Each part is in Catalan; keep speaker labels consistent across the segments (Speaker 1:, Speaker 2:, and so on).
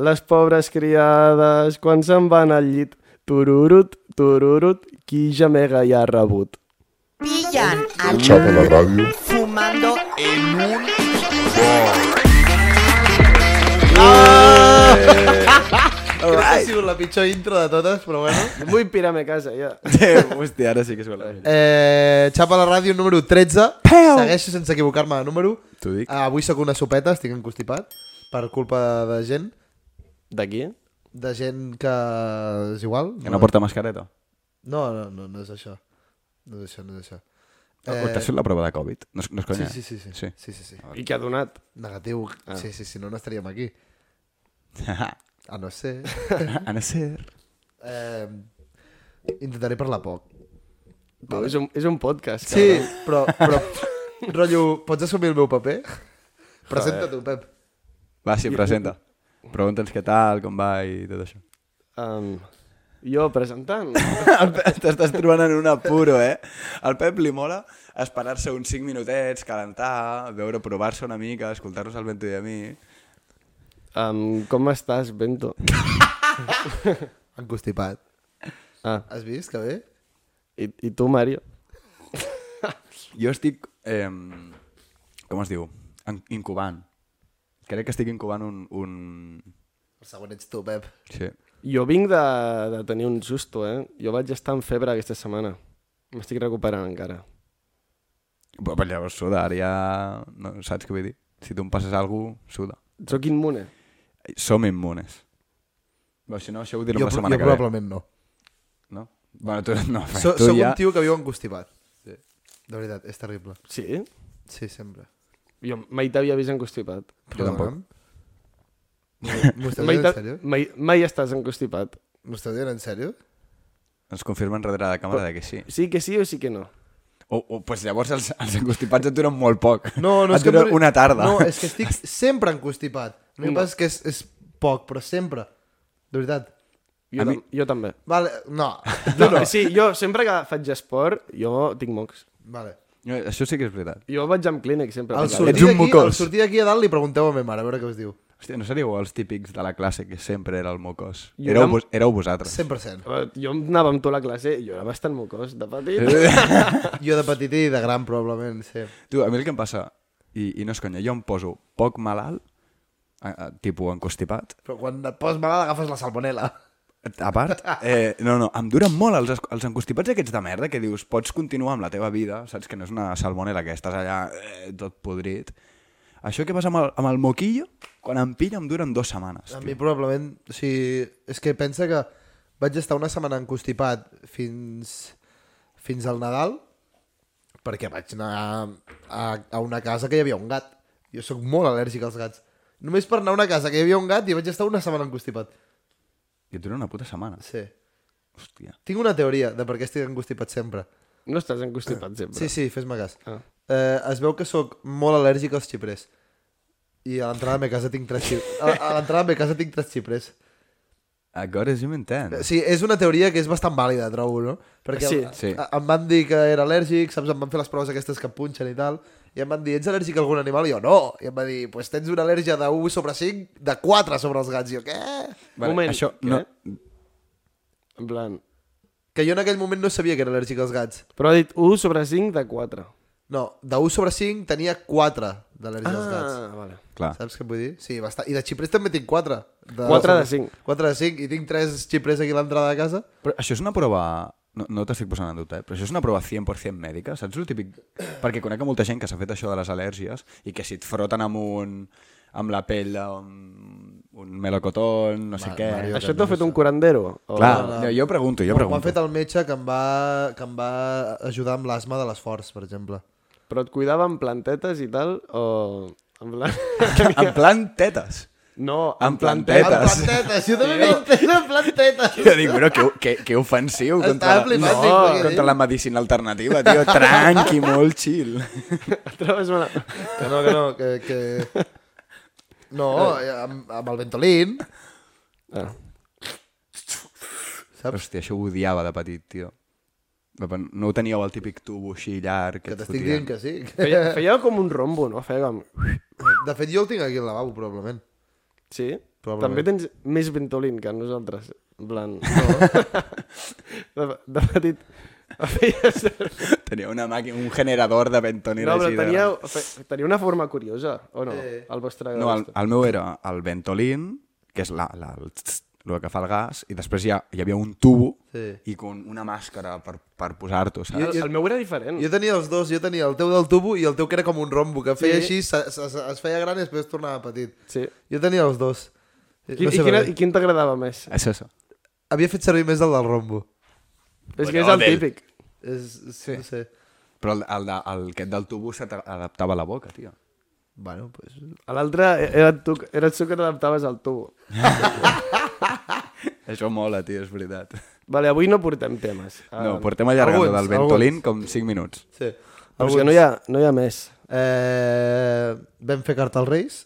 Speaker 1: Les pobres criades, quan se'n van al llit, tururut, tururut, qui gemega ja ha rebut.
Speaker 2: Pillan al
Speaker 3: Enchapa la radio.
Speaker 2: fumando en un
Speaker 4: Crec que ha sigut la pitjor intro de totes, però bueno.
Speaker 1: Vull pirar-me a casa, ja.
Speaker 5: Hòstia, ara sí que és guarda.
Speaker 4: Eh, xapa la ràdio número 13. Peu. Segueixo sense equivocar-me de número.
Speaker 5: T'ho dic.
Speaker 4: Ah, avui sóc una sopeta, estic encostipat. Per culpa de gent.
Speaker 1: D'aquí?
Speaker 4: De gent que és igual.
Speaker 5: Que no porta mascareta.
Speaker 4: no, no, no, no és això. No és això, no és això.
Speaker 5: Eh... T'has fet la prova de Covid? No, és- no és
Speaker 4: Sí,
Speaker 5: conya.
Speaker 4: sí, sí. Sí,
Speaker 5: sí.
Speaker 4: sí, sí. sí.
Speaker 1: I què ha donat?
Speaker 4: Negatiu. Ah. Sí, sí, sí, no, no estaríem aquí. A no ser...
Speaker 5: Ana ser.
Speaker 4: Eh, intentaré parlar poc.
Speaker 1: No, és, un, és un podcast,
Speaker 4: Sí, però, però rotllo, pots assumir el meu paper? Presenta tu, Pep.
Speaker 5: Va, sí, presenta. Pregunta'ns què tal, com va i tot això.
Speaker 1: Um, jo presentant?
Speaker 5: El Pep- T'estàs trobant en un apuro, eh? Al Pep li mola esperar-se uns 5 minutets, calentar, veure, provar-se una mica, escoltar-nos al vento i a mi.
Speaker 1: Um, com estàs, Bento?
Speaker 4: Encostipat.
Speaker 1: Ah,
Speaker 4: Has vist que bé?
Speaker 1: i, i tu, Mario?
Speaker 5: Jo estic... Eh, com es diu? En, incubant. Crec que estic incubant un... un...
Speaker 4: El següent ets tu, Pep.
Speaker 5: Sí.
Speaker 1: Jo vinc de, de tenir un susto, eh? Jo vaig estar en febre aquesta setmana. M'estic recuperant encara.
Speaker 5: Però, però llavors suda, ara ja... No, saps què vull dir? Si tu em passes alguna cosa, suda.
Speaker 1: Sóc immune.
Speaker 5: Som immunes. Però si no, això ho direm
Speaker 4: jo
Speaker 5: la
Speaker 4: jo
Speaker 5: setmana que ve.
Speaker 4: probablement no.
Speaker 5: No? Bueno, tu no, fe,
Speaker 4: So,
Speaker 5: tu
Speaker 4: soc
Speaker 5: ja...
Speaker 4: un tio que viu encostipat. Sí. De veritat, és terrible.
Speaker 1: Sí?
Speaker 4: Sí, sempre.
Speaker 1: Jo mai t'havia vist encostipat.
Speaker 5: Jo tampoc.
Speaker 4: M'ho estàs
Speaker 1: Mai,
Speaker 4: dient en
Speaker 1: t'ha-
Speaker 4: sèrio?
Speaker 1: mai, mai estàs encostipat.
Speaker 4: M'ho estàs dient en sèrio?
Speaker 5: Ens confirmen darrere de càmera de que sí.
Speaker 1: Sí que sí o sí que no?
Speaker 5: O, o pues llavors els, els encostipats et duren molt poc.
Speaker 4: No, no
Speaker 5: et
Speaker 4: és que...
Speaker 5: dura
Speaker 4: em-
Speaker 5: una tarda.
Speaker 4: No, és que estic sempre encostipat. El que passa és que és, és poc, però sempre. De veritat.
Speaker 1: Jo,
Speaker 5: A mi-
Speaker 1: tam jo també.
Speaker 4: Vale, no.
Speaker 1: No, no. Sí, jo sempre que faig esport, jo tinc mocs.
Speaker 4: Vale.
Speaker 5: No, això sí que és veritat.
Speaker 1: Jo vaig amb clínic sempre.
Speaker 4: Al
Speaker 1: Vinga,
Speaker 5: sud.
Speaker 4: sortir,
Speaker 5: un
Speaker 4: d'aquí,
Speaker 5: mocós.
Speaker 4: al sortir d'aquí a dalt li pregunteu a ma mare, a veure què us diu.
Speaker 5: Hòstia, no seríeu els típics de la classe que sempre era el mocós?
Speaker 1: Jo
Speaker 5: Éreu,
Speaker 1: era-
Speaker 5: vos, éreu vosaltres.
Speaker 4: 100%.
Speaker 1: Eh, Jo anava amb tu a la classe i jo era bastant mocós de petit.
Speaker 5: Eh.
Speaker 4: Jo de petit i de gran, probablement, sí.
Speaker 5: Tu, a mi el que em passa, i, i no és conya, jo em poso poc malalt, a, a, tipus encostipat,
Speaker 4: Però quan et poses malalt agafes la salmonella.
Speaker 5: a part, eh, no, no, em duren molt els, es- els encostipats aquests de merda que dius, pots continuar amb la teva vida, saps que no és una salmonela que estàs allà eh, tot podrit. Això que passa amb el, amb el moquillo, quan em pilla em duren dues setmanes.
Speaker 4: A
Speaker 5: tio.
Speaker 4: mi probablement... O sigui, és que pensa que vaig estar una setmana encostipat fins, fins al Nadal perquè vaig anar a, a una casa que hi havia un gat. Jo sóc molt al·lèrgic als gats. Només per anar a una casa que hi havia un gat i vaig estar una setmana encostipat.
Speaker 5: I et dura una puta setmana.
Speaker 4: Sí.
Speaker 5: Hòstia.
Speaker 4: Tinc una teoria de per què estic encostipat sempre.
Speaker 1: No estàs encostipat sempre.
Speaker 4: Sí, sí, fes-me cas.
Speaker 1: Ah.
Speaker 4: Eh, es veu que sóc molt al·lèrgic als xiprers. I a l'entrada de la meva casa tinc tres xiprers. A a l'entrada de la meva casa tinc tres xiprers.
Speaker 5: A God is you intent.
Speaker 4: Sí, és una teoria que és bastant vàlida, trobo, no? Perquè
Speaker 1: Sí.
Speaker 4: em-
Speaker 5: Sí.
Speaker 4: a- em van dir que era al·lèrgic, saps? Em van fer les proves aquestes que punxen i tal. I em van dir, ets al·lèrgic a algun animal? I jo, no. I em va dir, pues tens una al·lèrgia de 1 sobre 5, de 4 sobre els gats. I jo, què?
Speaker 5: Vale,
Speaker 1: Moment,
Speaker 5: això,
Speaker 1: què?
Speaker 5: no,
Speaker 1: En plan...
Speaker 4: Que jo en aquell moment no sabia que era al·lèrgic als gats.
Speaker 1: Però ha dit 1 sobre 5 de 4.
Speaker 4: No, de 1 sobre 5 tenia 4 d'al·lèrgia als gats.
Speaker 1: vale.
Speaker 5: clar.
Speaker 4: Saps què vull dir? Sí, bastant. I de xiprers també tinc 4. De...
Speaker 1: Quatre de cinc.
Speaker 4: 4 de 5 i tinc 3 xiprers aquí a l'entrada de casa.
Speaker 5: Però això és una prova... No, no t'estic posant en dubte, eh? però això és una prova 100% mèdica, saps el típic... Perquè conec a molta gent que s'ha fet això de les al·lèrgies i que si et froten amb un amb la pell d'un un melocotón, no sé
Speaker 4: Ma-
Speaker 5: què...
Speaker 4: Mario,
Speaker 1: Això t'ho ha fet un curandero? O...
Speaker 5: Clar, no, jo pregunto, jo
Speaker 4: Bueno, M'ho ha
Speaker 5: pregunto.
Speaker 4: fet el metge que em va, que em va ajudar amb l'asma de l'esforç, per exemple.
Speaker 1: Però et cuidava amb plantetes i tal? O... En plan...
Speaker 5: En plan tetes.
Speaker 1: No,
Speaker 5: En plan
Speaker 1: plantet-
Speaker 4: Amb
Speaker 5: tetes.
Speaker 4: plantetes! Jo també m'he entès amb plantetes!
Speaker 5: Jo dic, bueno, que, que, que ofensiu
Speaker 4: Estava
Speaker 5: contra, la-
Speaker 4: flipant, dic,
Speaker 5: no,
Speaker 4: perquè-
Speaker 5: contra la medicina alternativa, tio. Tranqui, molt chill.
Speaker 1: Trobes una...
Speaker 4: Que no, que no, que... que... No, amb, amb el Ventolin,
Speaker 1: Ah.
Speaker 4: saps?
Speaker 5: Hòstia, això ho odiava de petit, tio. No ho teníeu el típic tubo així llarg que,
Speaker 4: Que
Speaker 5: et
Speaker 4: t'estic
Speaker 5: fotien.
Speaker 4: dient que sí.
Speaker 1: Feia, feia com un rombo, no? Feia com...
Speaker 4: De fet, jo el tinc aquí al lavabo, probablement.
Speaker 1: Sí? També
Speaker 4: probablement.
Speaker 1: tens més ventolín que nosaltres. En plan... No. de, de petit... Feies...
Speaker 5: Tenia una màquina, un generador de bentonil
Speaker 1: No, però
Speaker 5: així. de-
Speaker 1: teníeu, fe- teniu una forma curiosa, o no?
Speaker 4: Eh.
Speaker 1: El vostre...
Speaker 5: No, el, el meu era el ventolín, que és la, la, el, tss, el que fa el gas, i després hi, ha, hi havia un tubo
Speaker 4: Sí.
Speaker 5: i con una màscara per, per posar-t'ho,
Speaker 1: El,
Speaker 5: saps?
Speaker 1: el meu era diferent.
Speaker 4: Jo tenia els dos, jo tenia el teu del tubo i el teu que era com un rombo, que feia
Speaker 1: Sí.
Speaker 4: així, se, se, se, es feia gran i després tornava petit.
Speaker 1: Sí.
Speaker 4: Jo tenia els dos.
Speaker 1: Qui,
Speaker 4: no
Speaker 1: i,
Speaker 4: sé
Speaker 1: quina,
Speaker 4: per
Speaker 1: I
Speaker 4: què.
Speaker 1: quin t'agradava més?
Speaker 5: És això.
Speaker 4: Havia fet servir més el del rombo.
Speaker 1: és que és el
Speaker 5: del-
Speaker 1: típic.
Speaker 4: És, sí. No sé.
Speaker 5: Però el, el, de, el aquest del tubo se t'adaptava a la boca, tio.
Speaker 4: Bueno, pues...
Speaker 1: L'altre era tu, eres tu que t'adaptaves al tubo.
Speaker 5: Això mola, tio, és veritat.
Speaker 1: Vale, avui no portem temes.
Speaker 5: Ah, no, portem allargant
Speaker 4: alguns,
Speaker 5: del ventolín com 5 minuts.
Speaker 4: Sí.
Speaker 1: Però és que no hi ha, no hi ha més.
Speaker 4: Eh, vam fer carta als Reis.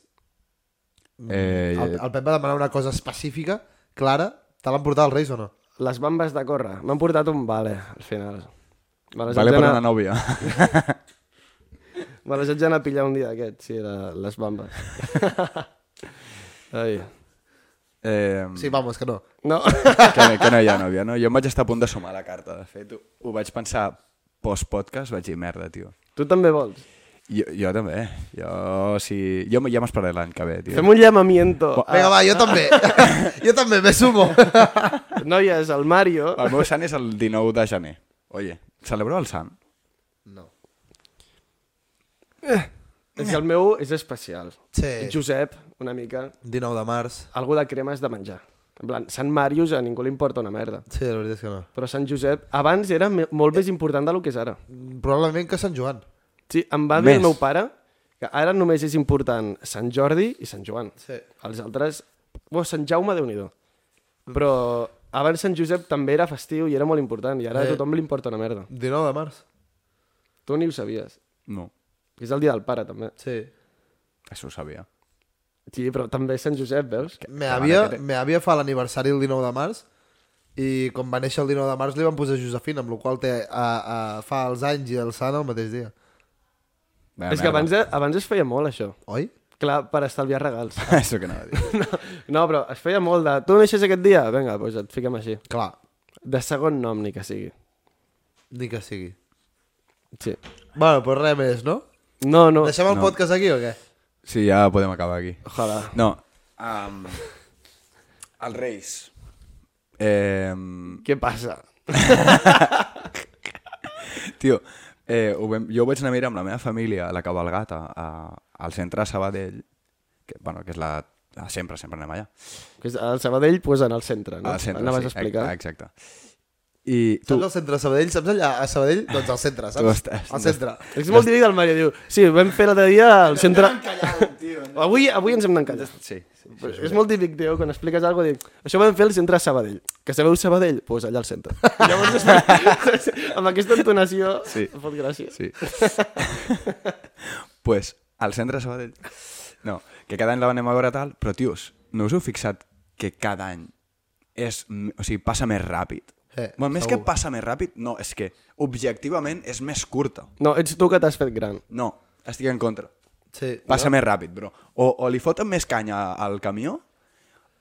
Speaker 5: Eh,
Speaker 4: El, el Pep va demanar una cosa específica, clara. Te l'han portat als Reis o no?
Speaker 1: Les bambes de córrer. M'han portat un vale, al final. Me les,
Speaker 5: vale
Speaker 1: haig
Speaker 5: per
Speaker 1: d'anar-
Speaker 5: una nòvia.
Speaker 1: me les haig d'anar a pillar un dia d'aquests, sí, de, les bambes. Ai.
Speaker 5: Eh,
Speaker 4: Sí, vamos, que no.
Speaker 1: No.
Speaker 5: que, que no hi ha nòvia, no? Jo em vaig estar a punt de sumar la carta, de fet. Ho, ho vaig pensar post-podcast, vaig dir, merda, tio.
Speaker 1: tu també vols.
Speaker 5: Jo, jo també. eh? Jo, sí... jo ja m'esperaré l'any que ve, tio.
Speaker 1: Fem un llamamiento. Ah,
Speaker 4: Vinga, va, jo també. jo també, me sumo.
Speaker 1: Noies, el Mario...
Speaker 5: El meu sant és el 19 de gener. Oye, celebreu el sant?
Speaker 4: No.
Speaker 1: És que el meu és especial.
Speaker 4: Sí.
Speaker 1: Josep, una mica,
Speaker 4: 19 de març.
Speaker 1: algú de cremes de menjar. En plan, Sant Màrius a ningú li importa una merda.
Speaker 4: Sí, la veritat és que no.
Speaker 1: Però Sant Josep abans era me- molt més important del que és ara.
Speaker 4: Probablement que Sant Joan.
Speaker 1: Sí, em va dir
Speaker 5: Més.
Speaker 1: el meu pare que ara només és important Sant Jordi i Sant Joan.
Speaker 4: Sí.
Speaker 1: Els altres... Bo, Sant Jaume, déu nhi Però abans Sant Josep també era festiu i era molt important i ara a
Speaker 4: Eh.
Speaker 1: tothom li importa una merda.
Speaker 4: 19 de març.
Speaker 1: Tu ni ho sabies.
Speaker 5: No,
Speaker 1: És el dia del pare, també.
Speaker 4: Sí.
Speaker 5: això ho sabia.
Speaker 1: Sí, però també Sant Josep, veus?
Speaker 4: Me
Speaker 5: que
Speaker 4: havia,
Speaker 5: van a-
Speaker 4: me havia fa l'aniversari el 19 de març i quan va néixer el 19 de març li van posar Josefina, amb la qual cosa té, a, a, fa els anys i el sant el mateix dia.
Speaker 5: Vaya
Speaker 1: És que
Speaker 5: merda.
Speaker 1: abans, abans es feia molt, això.
Speaker 4: Oi?
Speaker 1: Clar, per estalviar regals.
Speaker 5: Això que anava a dir.
Speaker 1: No, no, però es feia molt de... Tu naixes aquest dia? Vinga, doncs et fiquem així.
Speaker 4: Clar,
Speaker 1: De segon nom, ni que sigui.
Speaker 4: ni que sigui.
Speaker 1: Sí.
Speaker 4: Bueno, però res més, no?
Speaker 1: No, no.
Speaker 4: Deixem el
Speaker 5: no.
Speaker 4: podcast aquí o què?
Speaker 5: Sí, ja podem acabar aquí.
Speaker 1: Ojalà.
Speaker 5: No. Um, els Reis. Eh,
Speaker 1: Què passa?
Speaker 5: tio, eh, ho vam, jo ho vaig anar a mirar amb la meva família, a la cabalgata, a, al centre de Sabadell, que, bueno, que és la... ah, Sempre, sempre anem allà.
Speaker 1: Que és- El Sabadell, pues, en el centre, no?
Speaker 5: Al centre,
Speaker 1: Anaves
Speaker 5: sí,
Speaker 1: a explicar.
Speaker 5: Ah, exacte. I tu,
Speaker 4: Saps el centre de Sabadell? Saps allà a Sabadell? Doncs al centre,
Speaker 5: Tu
Speaker 4: saps?
Speaker 5: estàs-
Speaker 4: Al centre.
Speaker 1: És molt directe el Mario, diu, sí, ho vam fer l'altre dia al centre... Avui, avui ens hem d'encallar.
Speaker 5: Sí, sí.
Speaker 1: Però És molt típic, tio, quan expliques alguna cosa, dic, això ho vam fer al centre Sabadell. Que sabeu Sabadell? Doncs pues allà al centre. I Llavors, es- amb aquesta entonació,
Speaker 5: Sí.
Speaker 1: em fot gràcia.
Speaker 5: Sí. pues, al centre de Sabadell... No, que cada any la anem a veure tal, però, tios, no us heu fixat que cada any és, m- o sigui, passa més ràpid?
Speaker 4: Eh,
Speaker 5: bueno, més
Speaker 4: segur.
Speaker 5: que passa més ràpid, no, és que objectivament és més curta.
Speaker 1: No, ets tu que t'has fet gran.
Speaker 5: No, estic en contra.
Speaker 4: Sí.
Speaker 5: Passa més ràpid, bro. O, o li foten més canya al camió,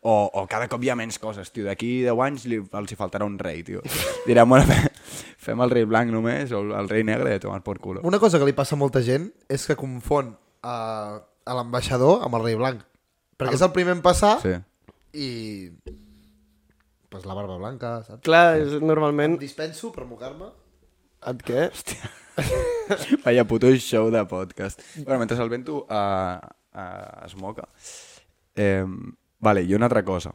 Speaker 5: o, o cada cop hi ha menys coses, tio. D'aquí 10 anys li, els hi faltarà un rei, tio. Diran, bueno, fe- fem el rei blanc només, o el rei negre, i a tomar por culo.
Speaker 4: Una cosa que li passa a molta gent és que confon a, a l'ambaixador amb el rei blanc. Perquè és el primer en passar
Speaker 5: Sí.
Speaker 4: i... Pues la barba blanca, saps?
Speaker 1: Clar, és, normalment...
Speaker 4: Dispenso per mocar-me.
Speaker 1: Et què?
Speaker 5: Vaya puto show de podcast. Bueno, mentre el vento uh, uh, es moca. Eh, vale, i una altra cosa.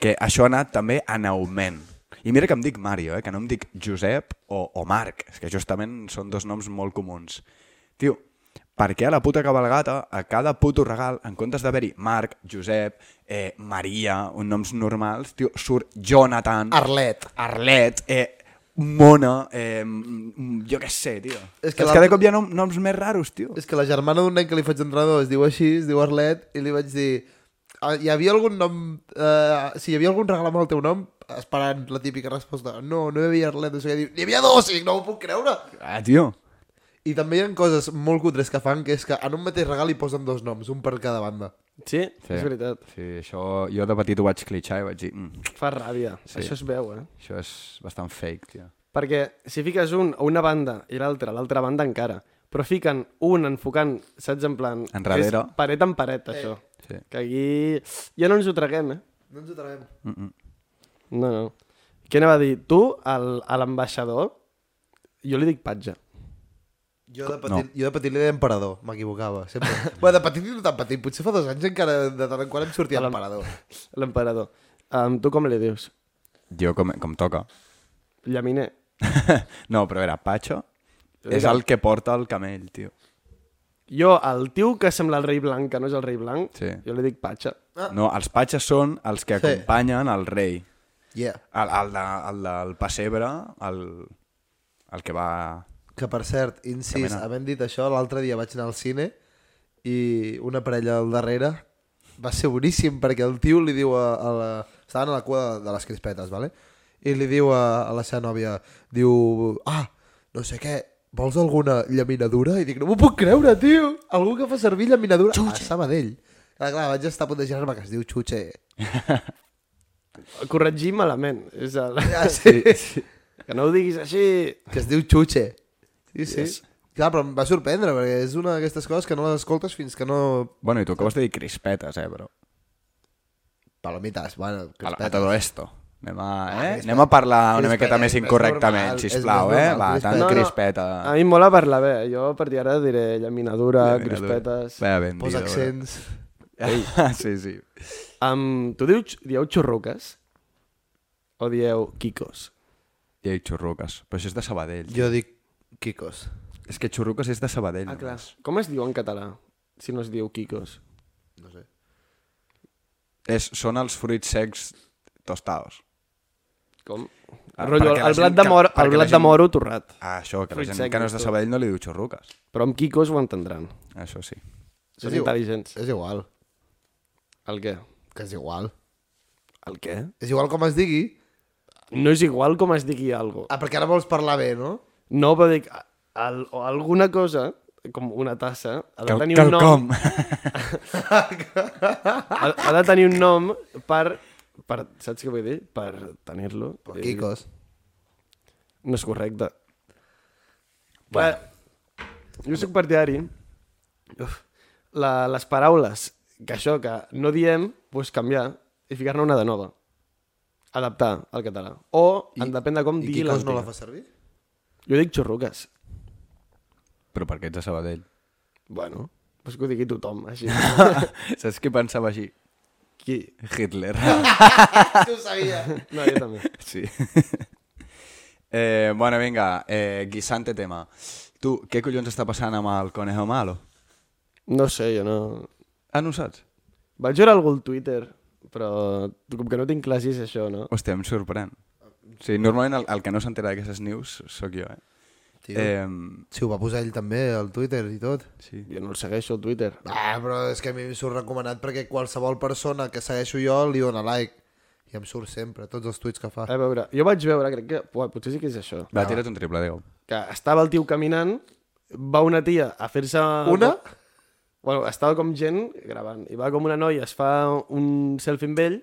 Speaker 5: Que això ha anat també en augment. I mira que em dic Mario, eh? que no em dic Josep o, o Marc. És que justament són dos noms molt comuns. Tio, per què a la puta cabalgata, a cada puto regal, en comptes d'haver-hi Marc, Josep, eh, Maria, uns noms normals, tio, surt Jonathan...
Speaker 4: Arlet.
Speaker 5: Arlet, eh, Mona, eh, mm, jo què sé, tio.
Speaker 4: És
Speaker 5: És
Speaker 4: que
Speaker 5: que, és
Speaker 4: la-
Speaker 5: que de cop hi ha nom, noms més raros, tio.
Speaker 4: És que la germana d'un nen que li faig entrenador es diu així, es diu Arlet, i li vaig dir... "Ah, Hi havia algun nom... Eh, si hi havia algun regal amb el teu nom, esperant la típica resposta. No, no hi havia Arlet, no sé què. Diu, N'hi havia dos, i dic, no ho puc creure.
Speaker 5: Ah, tio.
Speaker 4: I també hi ha coses molt cutres que fan, que és que en un mateix regal hi posen dos noms, un per cada banda.
Speaker 1: Sí, sí, és veritat.
Speaker 5: Sí, això... Jo de petit ho vaig clitxar i vaig dir... Mm,
Speaker 1: Fa ràbia.
Speaker 5: Sí.
Speaker 1: Sí. Això es veu, eh?
Speaker 5: això és bastant fake, tio.
Speaker 1: Perquè si fiques un a una banda i l'altre a l'altra banda encara, però fiquen un enfocant, saps, en plan...
Speaker 5: Enrere.
Speaker 1: És paret en paret, això.
Speaker 5: Sí.
Speaker 1: Que aquí... Ja no ens ho traguem, eh?
Speaker 4: No ens ho traguem.
Speaker 1: No, no. Què anava a dir? Tu, al- a l'ambaixador, jo li dic patja.
Speaker 4: Jo de petit, no. jo de petit li deia emperador, m'equivocava, sempre. Bé, de petit i no tan petit, potser fa dos anys encara de tant en quant em sortia
Speaker 1: Hola.
Speaker 4: emperador.
Speaker 1: a L'emperador. Um, tu com li dius?
Speaker 5: Jo com, com toca.
Speaker 1: Llaminer.
Speaker 5: no, però era Pacho
Speaker 1: Vinga.
Speaker 5: és el que porta el camell, tio.
Speaker 1: Jo, el tio que sembla el rei blanc, que no és el rei blanc,
Speaker 5: Sí.
Speaker 1: jo li dic patxa.
Speaker 4: Ah.
Speaker 5: No, els patxes són els que
Speaker 4: Sí.
Speaker 5: acompanyen el rei.
Speaker 4: Yeah.
Speaker 5: El, el, de, el del pessebre, el, el que va...
Speaker 4: Que per cert, incís,
Speaker 5: Camina.
Speaker 4: havent dit això, l'altre dia vaig anar al cine i una parella al darrere va ser boníssim perquè el tio li diu a, a la... Estaven a la cua de, de les crispetes, vale? I li diu a, a la seva nòvia, diu, ah, no sé què, vols alguna llaminadura? I dic, no m'ho puc creure, tio! Algú que fa servir llaminadura a Sabadell. Clar, clar, vaig estar a punt de girar-me que es diu Xuxe.
Speaker 1: Corregir malament. És el...
Speaker 4: Ah, sí.
Speaker 1: Que no ho diguis així.
Speaker 4: que es diu Xuxe. Sí, sí. Yes. Clar, però em va sorprendre, perquè és una d'aquestes coses que no les escoltes fins que no
Speaker 5: Bueno, i tu acabes de dir crispetes, eh, però...
Speaker 4: Palomitas, bueno,
Speaker 5: A,
Speaker 4: crispetes.
Speaker 5: a todo esto. Anem a,
Speaker 1: Ah,
Speaker 5: eh?
Speaker 4: crispetes.
Speaker 5: Anem a parlar una miqueta
Speaker 4: Crispetes,
Speaker 5: més
Speaker 4: és
Speaker 5: incorrectament,
Speaker 4: normal, és
Speaker 5: sisplau,
Speaker 4: més
Speaker 5: eh?
Speaker 4: normal,
Speaker 5: Va, tant
Speaker 4: crispetes.
Speaker 5: crispeta.
Speaker 1: A mi em mola parlar bé. Jo a partir d'ara diré llaminadura,
Speaker 5: Llaminadura.
Speaker 1: crispetes...
Speaker 5: Bé, ben
Speaker 4: Posa
Speaker 5: dit,
Speaker 4: accents.
Speaker 5: veure. eh? sí, sí.
Speaker 1: Um, tu dius, dieu xurruques? O dieu quicos?
Speaker 5: I hi ha xurruques. Però això és de Sabadell.
Speaker 4: Jo dic Kikos.
Speaker 5: És que xurruques és de Sabadell.
Speaker 1: Ah, clar.
Speaker 5: només.
Speaker 1: Com es diu en català, si no es diu quicos?
Speaker 4: No sé.
Speaker 5: És, són els fruits secs tostados.
Speaker 1: Com?
Speaker 5: Ah,
Speaker 1: El, rotllo,
Speaker 5: perquè la
Speaker 1: el blat
Speaker 5: gent
Speaker 1: de,
Speaker 5: que-
Speaker 1: moro,
Speaker 5: perquè
Speaker 1: el
Speaker 5: la
Speaker 1: blat de
Speaker 5: gent-
Speaker 1: moro torrat.
Speaker 5: Ah, això, que la
Speaker 1: Fruits
Speaker 5: gent
Speaker 1: secs,
Speaker 5: que no és de
Speaker 1: tot.
Speaker 5: Sabadell no li diu xurruques.
Speaker 1: Però amb quicos ho entendran.
Speaker 5: Això sí.
Speaker 1: Són
Speaker 4: diu-
Speaker 1: intel·ligents.
Speaker 4: És igual,
Speaker 1: El què?
Speaker 4: que és igual.
Speaker 1: El què?
Speaker 4: És igual com es digui.
Speaker 1: No és igual com es digui algo.
Speaker 4: Ah, perquè ara vols parlar bé, no?
Speaker 1: No, però dic, el, o alguna cosa, com una tassa, ha de
Speaker 5: Cal-
Speaker 1: tenir un nom...
Speaker 5: quelcom.
Speaker 1: ha, ha de tenir un nom per, per saps què vull dir? Per tenir-lo. Eh,
Speaker 4: Però Kikos.
Speaker 1: No és correcte. Bueno. Jo soc partidari. Uf, la, les paraules que això que no diem, doncs canviar i ficar-ne una de nova. Adaptar al català. O, I, en depèn de com
Speaker 4: I
Speaker 1: digui
Speaker 4: Kikos no
Speaker 1: l'antiga.
Speaker 4: la fa servir?
Speaker 1: Jo dic xurruques.
Speaker 5: Però per què ets de Sabadell?
Speaker 1: Bueno, doncs que ho digui tothom, així.
Speaker 5: Saps qui pensava així?
Speaker 1: Qui?
Speaker 5: Hitler.
Speaker 4: Jo ho sabia.
Speaker 1: No, jo també.
Speaker 5: sí. eh, bueno, vinga, eh, guisante tema. Tu, què collons està passant amb el Conejo Malo?
Speaker 1: No sé, jo no...
Speaker 5: Ah, no ho saps?
Speaker 1: Vaig veure algú al Twitter, però com que no tinc clar si és això, no?
Speaker 5: Hòstia, em sorprèn. Sí, normalment el, el que no s'entera d'aquestes news sóc jo, eh?
Speaker 4: Tio.
Speaker 5: eh
Speaker 4: Si ho va posar ell també al Twitter i tot.
Speaker 5: sí.
Speaker 1: Jo no el segueixo al Twitter.
Speaker 4: Ah, però és que a mi em surt recomanat perquè qualsevol persona que segueixo jo li dona like. I em surt sempre, tots els tuits que
Speaker 5: Eh,
Speaker 4: fa.
Speaker 1: A veure, jo vaig veure, crec que... Uà, potser sí que és això.
Speaker 5: Va, tira't un triple 10.
Speaker 1: Que estava el tio caminant, va una tia a fer-se...
Speaker 4: Una?
Speaker 1: Bueno, estava com gent gravant. I va com una noia, es fa un selfie amb ell,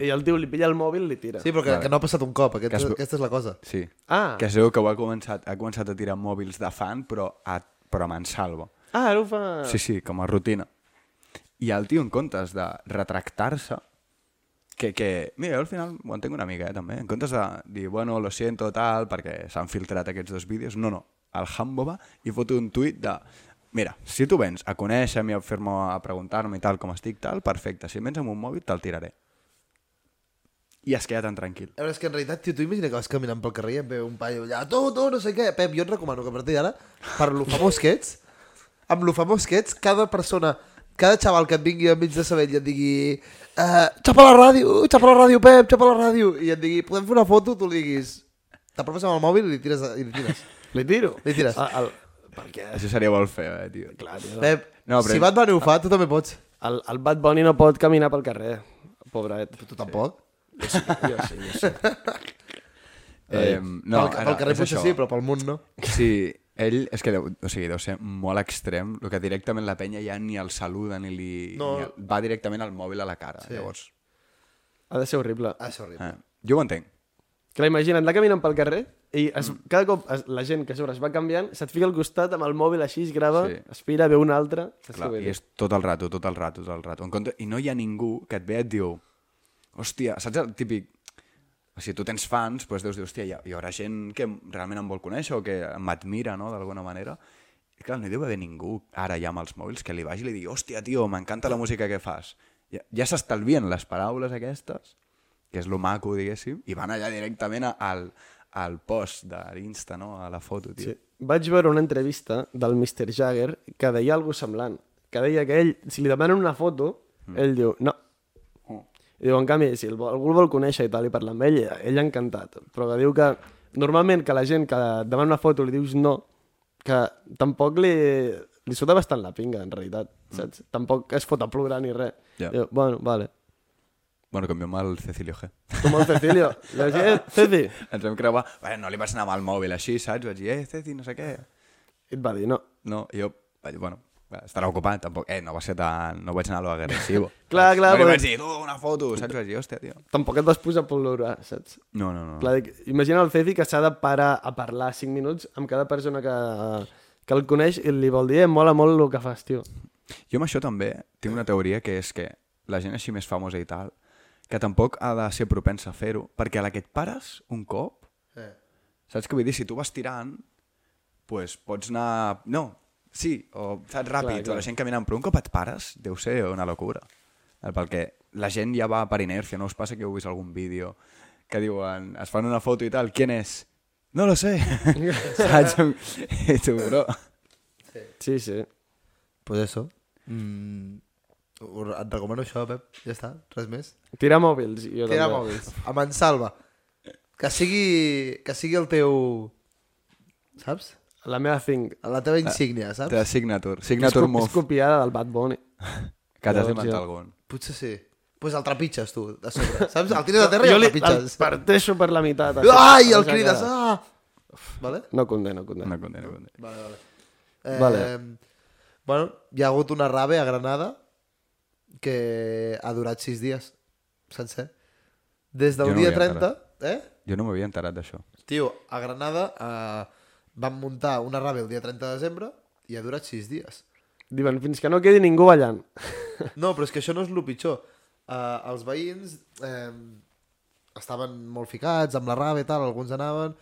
Speaker 1: i el tio li pilla el mòbil i li tira.
Speaker 4: Sí, però que, que no ha passat un cop, aquest,
Speaker 5: Que es-
Speaker 4: aquesta és la cosa.
Speaker 5: Sí.
Speaker 1: Ah.
Speaker 5: Que es veu que ho ha començat, ha començat a tirar mòbils de fan, però, a, però me'n salvo.
Speaker 1: Ah, ara ho fa...
Speaker 5: Sí, sí, com a rutina. I el tio, en comptes de retractar-se, que, que, mira, jo al final ho entenc una mica, eh, també, en comptes de dir, bueno, lo siento, tal, perquè s'han filtrat aquests dos vídeos, no, no, el Hambo va i fot un tuit de, mira, si tu vens a conèixer-me, a fer-me, a preguntar-me i tal com estic, tal, perfecte, si vens amb un mòbil te'l tiraré. I es queda tan tranquil.
Speaker 4: A veure, és que en realitat, tio, tu imagina que vas caminant pel carrer i et ve un paio allà, tu, tu, no sé què. Pep, jo et recomano que a partir d'ara, per lo famós que ets, amb lo famós que ets, cada persona, cada xaval que et vingui enmig de Sabell i et digui eh, xapa la ràdio, xapa la ràdio, Pep, xapa la ràdio, i et digui, podem fer una foto, tu li diguis, t'apropes amb el mòbil i li tires. I li tires.
Speaker 1: Li tiro.
Speaker 4: Li tires.
Speaker 1: Ah, el... Perquè...
Speaker 5: Això seria molt feu, eh, tio. Clar,
Speaker 4: Pep,
Speaker 5: No, però-
Speaker 4: no, però... si va et van fa, tu també pots.
Speaker 1: El, el Bad Bunny no pot caminar pel carrer. Pobret.
Speaker 4: Tu tampoc.
Speaker 1: Jo sí, jo sí. Jo sí.
Speaker 5: Eh, no,
Speaker 4: pel, pel carrer
Speaker 5: és
Speaker 4: potser
Speaker 5: això.
Speaker 4: sí, però pel món no.
Speaker 5: Sí, Ell és que deu, o sigui, deu ser molt extrem, el que directament la penya ja ni el saluda ni li...
Speaker 4: No.
Speaker 5: Ni el, va directament al mòbil a la cara,
Speaker 4: Sí.
Speaker 5: sí. llavors.
Speaker 1: Ha de ser horrible.
Speaker 4: Ah, és horrible.
Speaker 5: Eh, jo ho entenc.
Speaker 1: Que la imagina't, anar caminant pel carrer i es,
Speaker 5: Mm.
Speaker 1: cada cop es, la gent que a sobre es va canviant se't fica al costat amb el mòbil així, es grava,
Speaker 5: Sí.
Speaker 1: sí. aspira, ve un altre... saps
Speaker 5: Clar,
Speaker 1: què vull
Speaker 5: I
Speaker 1: dir?
Speaker 5: és tot el rato, tot el rato, tot el rato. En compte, I no hi ha ningú que et ve i et diu hòstia, saps el típic... O sigui, tu tens fans, doncs deus dir, hòstia, hi, ha, hi haurà gent que realment em vol conèixer o que m'admira, no?, d'alguna manera. I clar, no hi deu haver ningú ara ja amb els mòbils que li vagi i li digui, hòstia, tio, m'encanta la música que fas. Ja, ja s'estalvien les paraules aquestes, que és lo maco, diguéssim, i van allà directament a, al, al post de l'Insta, no?, a la foto, tio.
Speaker 1: Sí.
Speaker 5: Sí.
Speaker 1: Vaig veure una entrevista del Mr. Jagger que deia alguna semblant, que deia que ell, si li demanen una foto, mm. ell diu no.
Speaker 5: Mm.
Speaker 1: I diu, en canvi, si el, vol- algú el vol conèixer i tal, i parlar amb ell, ell encantat. Però que diu que normalment que la gent que et demana una foto li dius no, que tampoc li, li sota bastant la pinga, en realitat, saps? Tampoc es fot a plorar ni res.
Speaker 5: Ja.
Speaker 1: Diu, bueno, vale.
Speaker 5: Bueno, canviem al Cecilio G.
Speaker 1: Tu amb el Cecilio. I vaig dir, eh, Ceci.
Speaker 5: ens vam creuar, bueno, no li vas anar amb el mòbil així, saps? Vaig dir, eh, Ceci, no sé què.
Speaker 1: I et va dir no.
Speaker 5: No, i jo, vaig, dir, bueno, va, estarà ocupat, tampoc, eh, no va ser tan, no vaig anar a lo agressivo.
Speaker 1: Clar,
Speaker 5: Saps?
Speaker 1: clar,
Speaker 5: No li
Speaker 1: però-
Speaker 5: vaig dir, tu, una foto, saps? Vaig dir, hòstia, tio.
Speaker 1: Tampoc et vas posar a plorar, saps?
Speaker 5: No, no, no.
Speaker 1: Clar, dic, imagina el Ceci que s'ha de parar a parlar 5 minuts amb cada persona que, que el coneix i li vol dir, eh, mola molt el que fas, tio.
Speaker 5: Jo amb això també tinc una teoria que és que la gent així més famosa i tal, que tampoc ha de ser propensa a fer-ho, perquè a la que et pares un cop,
Speaker 4: Eh.
Speaker 5: saps què vull dir? Si tu vas tirant, pues, pots anar... No, sí, o saps ràpid, clar, clar. o
Speaker 1: clar.
Speaker 5: la gent caminant, però un cop et pares, deu ser una locura. Eh, Perquè la gent ja va per inèrcia, no us passa que heu vist algun vídeo que diuen, es fan una foto i tal, ¿quién és? No lo sé. saps? I tu, bro...
Speaker 1: Sí, sí.
Speaker 4: Pues eso. Mm, ho- et recomano això, Pep. Ja està, res més.
Speaker 1: Tira mòbils. Jo
Speaker 4: Tira
Speaker 1: també.
Speaker 4: mòbils. Amb en Salva. Que sigui, que sigui el teu... Saps?
Speaker 1: La meva thing.
Speaker 4: La teva insígnia, saps?
Speaker 5: De signature,
Speaker 1: És,
Speaker 5: signature
Speaker 1: co- és
Speaker 5: move,
Speaker 1: copiada del Bad Bunny.
Speaker 5: que t'has
Speaker 1: Llavors,
Speaker 5: inventat
Speaker 1: ja.
Speaker 5: algun.
Speaker 4: Potser sí. Pues el trepitges, tu, de sobre. Saps? El tires a terra i
Speaker 1: jo
Speaker 4: el
Speaker 1: li el
Speaker 4: trepitges.
Speaker 1: parteixo per la meitat. això.
Speaker 4: Ai, el
Speaker 1: Això
Speaker 4: crides.
Speaker 1: queda-
Speaker 4: Ah! Vale?
Speaker 1: No condeno, condeno.
Speaker 5: No conté, no conté.
Speaker 4: Vale, vale. Eh,
Speaker 1: Vale.
Speaker 4: Bueno, hi ha hagut una rave a Granada que ha durat sis dies sencer. Des del
Speaker 5: Jo no
Speaker 4: dia
Speaker 5: vull entrar.
Speaker 4: 30... Eh?
Speaker 5: Jo no m'havia enterat d'això.
Speaker 4: Tio, a Granada eh, van muntar una rave el dia 30 de desembre i ha durat sis dies.
Speaker 1: Diuen, fins que no quedi ningú ballant.
Speaker 4: No, però és que això no és el pitjor. Uh, els veïns eh, estaven molt ficats amb la rave i tal, alguns anaven...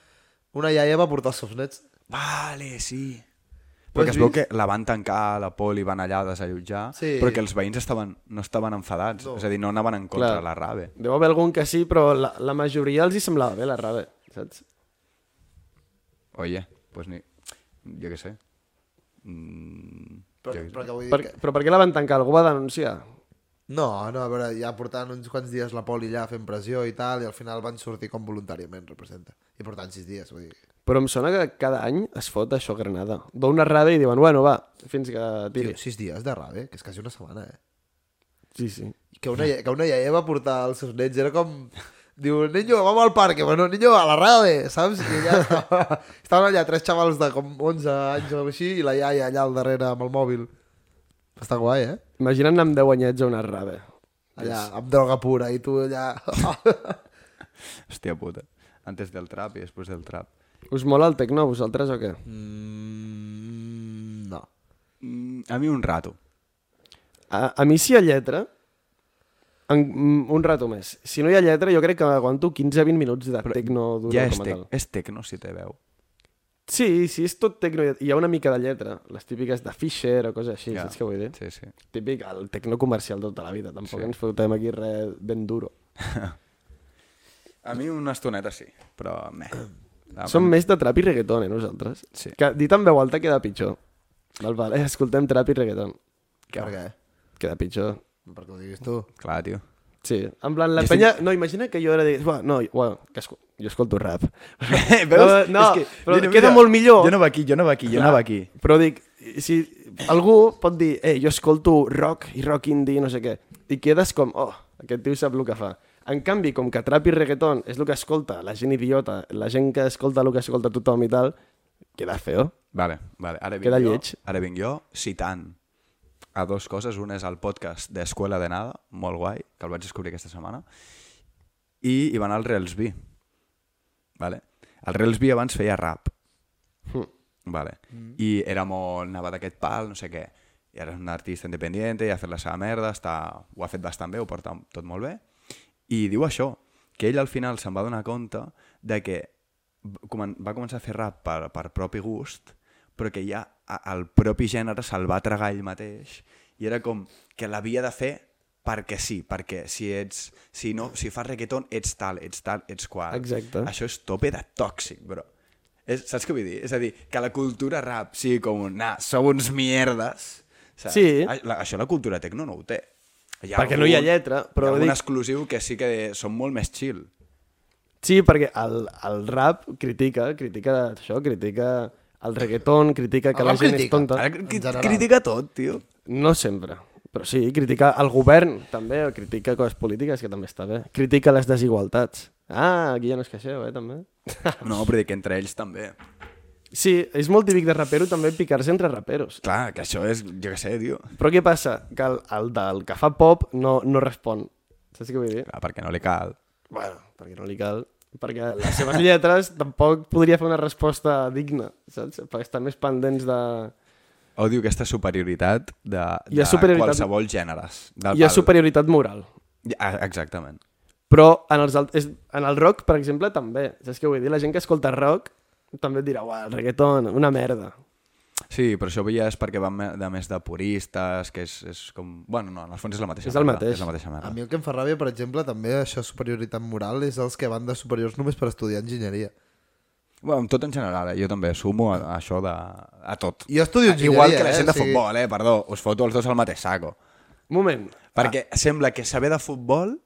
Speaker 4: Una iaia va portar els seus nets.
Speaker 5: Vale, sí.
Speaker 4: Ho has
Speaker 5: Perquè es veu
Speaker 4: vist?
Speaker 5: que la van tancar, la poli, van allà a desallotjar,
Speaker 4: Sí.
Speaker 5: però que els veïns estaven, no estaven enfadats,
Speaker 4: No.
Speaker 5: no. és a dir, no anaven en contra
Speaker 1: Clar.
Speaker 5: de la rave.
Speaker 1: Deu haver algun que sí, però la, la majoria els hi semblava bé la rave, saps?
Speaker 5: Oye, pues ni... Jo què sé. Mm,
Speaker 4: Però,
Speaker 5: jo què sé.
Speaker 4: però que vull dir
Speaker 1: Per,
Speaker 4: que...
Speaker 1: però per què la van tancar? Algú va denunciar?
Speaker 4: No, no, a veure, ja portaven uns quants dies la poli allà fent pressió i tal, i al final van sortir com voluntàriament, representa. I portant sis dies, vull dir...
Speaker 1: Però em sona que cada any es fot això a Granada. D'una rada i diuen, bueno, va, fins que
Speaker 4: Tio,
Speaker 1: tiri.
Speaker 4: sis dies de rave, que és quasi una setmana, eh?
Speaker 1: Sí, sí.
Speaker 4: Que una, iaia- que una iaia va portar els seus nens, era com... Diu, niño, vamos al parque, bueno, niño, a la rave, saps? I allà estava, estaven allà tres xavals de com 11 anys o així i la iaia allà al darrere amb el mòbil. Està guai, eh?
Speaker 1: Imagina't anar amb 10 anyets a una rave.
Speaker 4: Allà, amb droga pura, i tu allà...
Speaker 5: Hòstia puta. Antes del trap i després del trap.
Speaker 1: Us mola el tecno, a vosaltres, o què?
Speaker 4: Mm, no.
Speaker 5: Mm, a mi un rato.
Speaker 1: A, a mi si hi ha lletra, en, mm, un rato més. Si no hi ha lletra, jo crec que aguanto 15-20 minuts de tecno dur
Speaker 5: ja és,
Speaker 1: com a
Speaker 5: tec,
Speaker 1: tal.
Speaker 5: és tecno, si te veu.
Speaker 1: Sí, sí, és tot tecno. i Hi ha una mica de lletra. Les típiques de Fisher o coses així,
Speaker 5: Ja.
Speaker 1: saps què vull dir?
Speaker 5: Sí, sí.
Speaker 1: Típic, el tecno comercial tota la vida. Tampoc
Speaker 5: Sí.
Speaker 1: ens fotem aquí res ben duro.
Speaker 5: A mi una estoneta sí, però meh. La-
Speaker 1: Som més de trap i reggaeton, eh, nosaltres.
Speaker 5: Ah, Sí.
Speaker 1: Que dit en veu alta queda pitjor. Val, val, eh, escoltem trap i reggaeton.
Speaker 4: Per què?
Speaker 1: Queda pitjor.
Speaker 4: Perquè ho diguis tu.
Speaker 5: Clar, tio.
Speaker 1: Sí, en plan, la
Speaker 5: Jo
Speaker 1: penya... No, imagina que jo ara digués... Buah, no, bueno, que esco... jo escolto rap.
Speaker 5: Veus?
Speaker 1: No, no, però queda molt millor.
Speaker 5: Jo no va aquí, jo no va aquí, jo no va aquí.
Speaker 1: Però dic, si algú pot dir, eh, jo escolto rock i rock indie, no sé què, i quedes com, oh, aquest tio sap el que fa. En canvi, com que trap i reggaeton és el que escolta la gent idiota, la gent que escolta el que escolta tothom i tal, queda feo.
Speaker 5: Vale, vale. Ara vinc
Speaker 1: Queda
Speaker 5: jo,
Speaker 1: lleig.
Speaker 5: Ara vinc jo citant a dos coses. Una és el podcast d'Escuela de Nada, molt guai, que el vaig descobrir aquesta setmana, i hi va anar el Rels B. Vale? El Rels B abans feia rap. Vale. I era molt... Anava d'aquest pal, no sé què. I ara és un artista independent, i ha fet la seva merda, està, ho ha fet bastant bé, ho porta tot molt bé. I diu això, que ell al final se'n va donar compte de que comen- va començar a fer rap per, per propi gust, però que ja a- el propi gènere se'l va tragar ell mateix i era com que l'havia de fer perquè sí, perquè si ets si no, si fas reggaeton ets tal, ets tal, ets qual.
Speaker 1: Exacte.
Speaker 5: Això és tope de tòxic, bro. És, saps què vull dir? És a dir, que la cultura rap sigui com, un, nah, sou uns mierdes. Saps?
Speaker 1: Sí.
Speaker 5: A- La, això la cultura tecno no ho té. Hi
Speaker 1: Perquè no hi ha lletra, però
Speaker 5: hi ha algun
Speaker 1: dic-
Speaker 5: exclusiu que sí que són molt més chill.
Speaker 1: Sí, perquè el, el rap critica, critica això, critica el reggaeton, critica que
Speaker 4: El
Speaker 1: la
Speaker 4: rap
Speaker 1: gent és
Speaker 4: critica.
Speaker 1: tonta.
Speaker 5: Ara cri-
Speaker 4: general.
Speaker 5: critica tot, tio.
Speaker 1: No sempre, però sí, critica el govern també, o critica coses polítiques, que també està bé. Critica les desigualtats. Ah, aquí ja no es queixeu, eh, també.
Speaker 5: No, però dic entre ells també.
Speaker 1: Sí, és molt típic de rapero també picar-se entre raperos.
Speaker 5: Clar, que això és, jo què sé, tio.
Speaker 1: Però què passa? Que el, el del que fa pop no, no respon. Saps què vull dir?
Speaker 5: Clar, perquè no li cal.
Speaker 1: Bueno, perquè no li cal perquè les seves lletres tampoc podria fer una resposta digna, saps? Perquè estan més pendents de...
Speaker 5: Odio aquesta superioritat de, de
Speaker 1: Hi ha superioritat-
Speaker 5: qualsevol gèneres. Del,
Speaker 1: Hi ha
Speaker 5: del-
Speaker 1: superioritat moral.
Speaker 5: Ja, Exactament.
Speaker 1: Però en, els, alt- és, en el rock, per exemple, també. Saps què vull dir? La gent que escolta rock també et dirà, uah, el reggaeton, una merda.
Speaker 5: Sí, però això ja és perquè van me- de més de puristes, que és, és com... Bueno, no, en el fons és la mateixa
Speaker 1: És el
Speaker 5: merda,
Speaker 1: mateix.
Speaker 5: És la mateixa
Speaker 4: A
Speaker 5: merda.
Speaker 4: mi el que em fa ràbia, per exemple, també això superioritat moral és els que van de superiors només per estudiar enginyeria.
Speaker 5: Bueno, tot en general, eh? jo també sumo a, a això de... a tot.
Speaker 4: Jo estudio enginyeria,
Speaker 5: Igual que la
Speaker 4: eh?
Speaker 5: gent de
Speaker 4: O sigui-
Speaker 5: futbol, eh? Perdó, us foto els dos al mateix saco.
Speaker 1: Un moment.
Speaker 5: Perquè ah. sembla que saber de futbol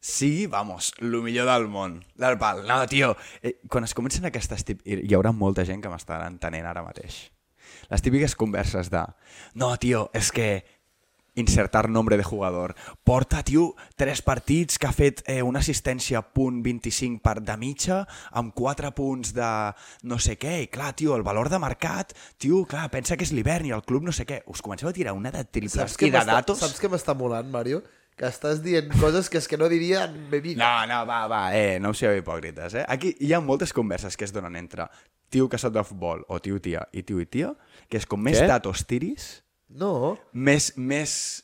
Speaker 5: sigui, vamos, lo millor del món. Del pal. No, tio, eh, quan es comencen aquestes típiques... Hi haurà molta gent que m'estarà entenent ara mateix. Les típiques converses de... No, tio, és que insertar nombre de jugador. Porta, tio, tres partits que ha fet eh, una assistència punt 25 per de mitja, amb quatre punts de no sé què, i clar, tio, el valor de mercat, tio, clar, pensa que és l'hivern i el club no sé què. Us comenceu a tirar una de triples i de
Speaker 4: m'està-
Speaker 5: datos?
Speaker 4: saps que m'està molant, Mario? Que estàs dient coses que és que no diria en mi vida.
Speaker 5: No, no, va, va, eh, no sigueu hipòcrites, eh? Aquí hi ha moltes converses que es donen entre tio que sap de futbol o tio tia i tio i tia, que és com més
Speaker 1: Què?
Speaker 5: datos tiris,
Speaker 4: No.
Speaker 5: més, més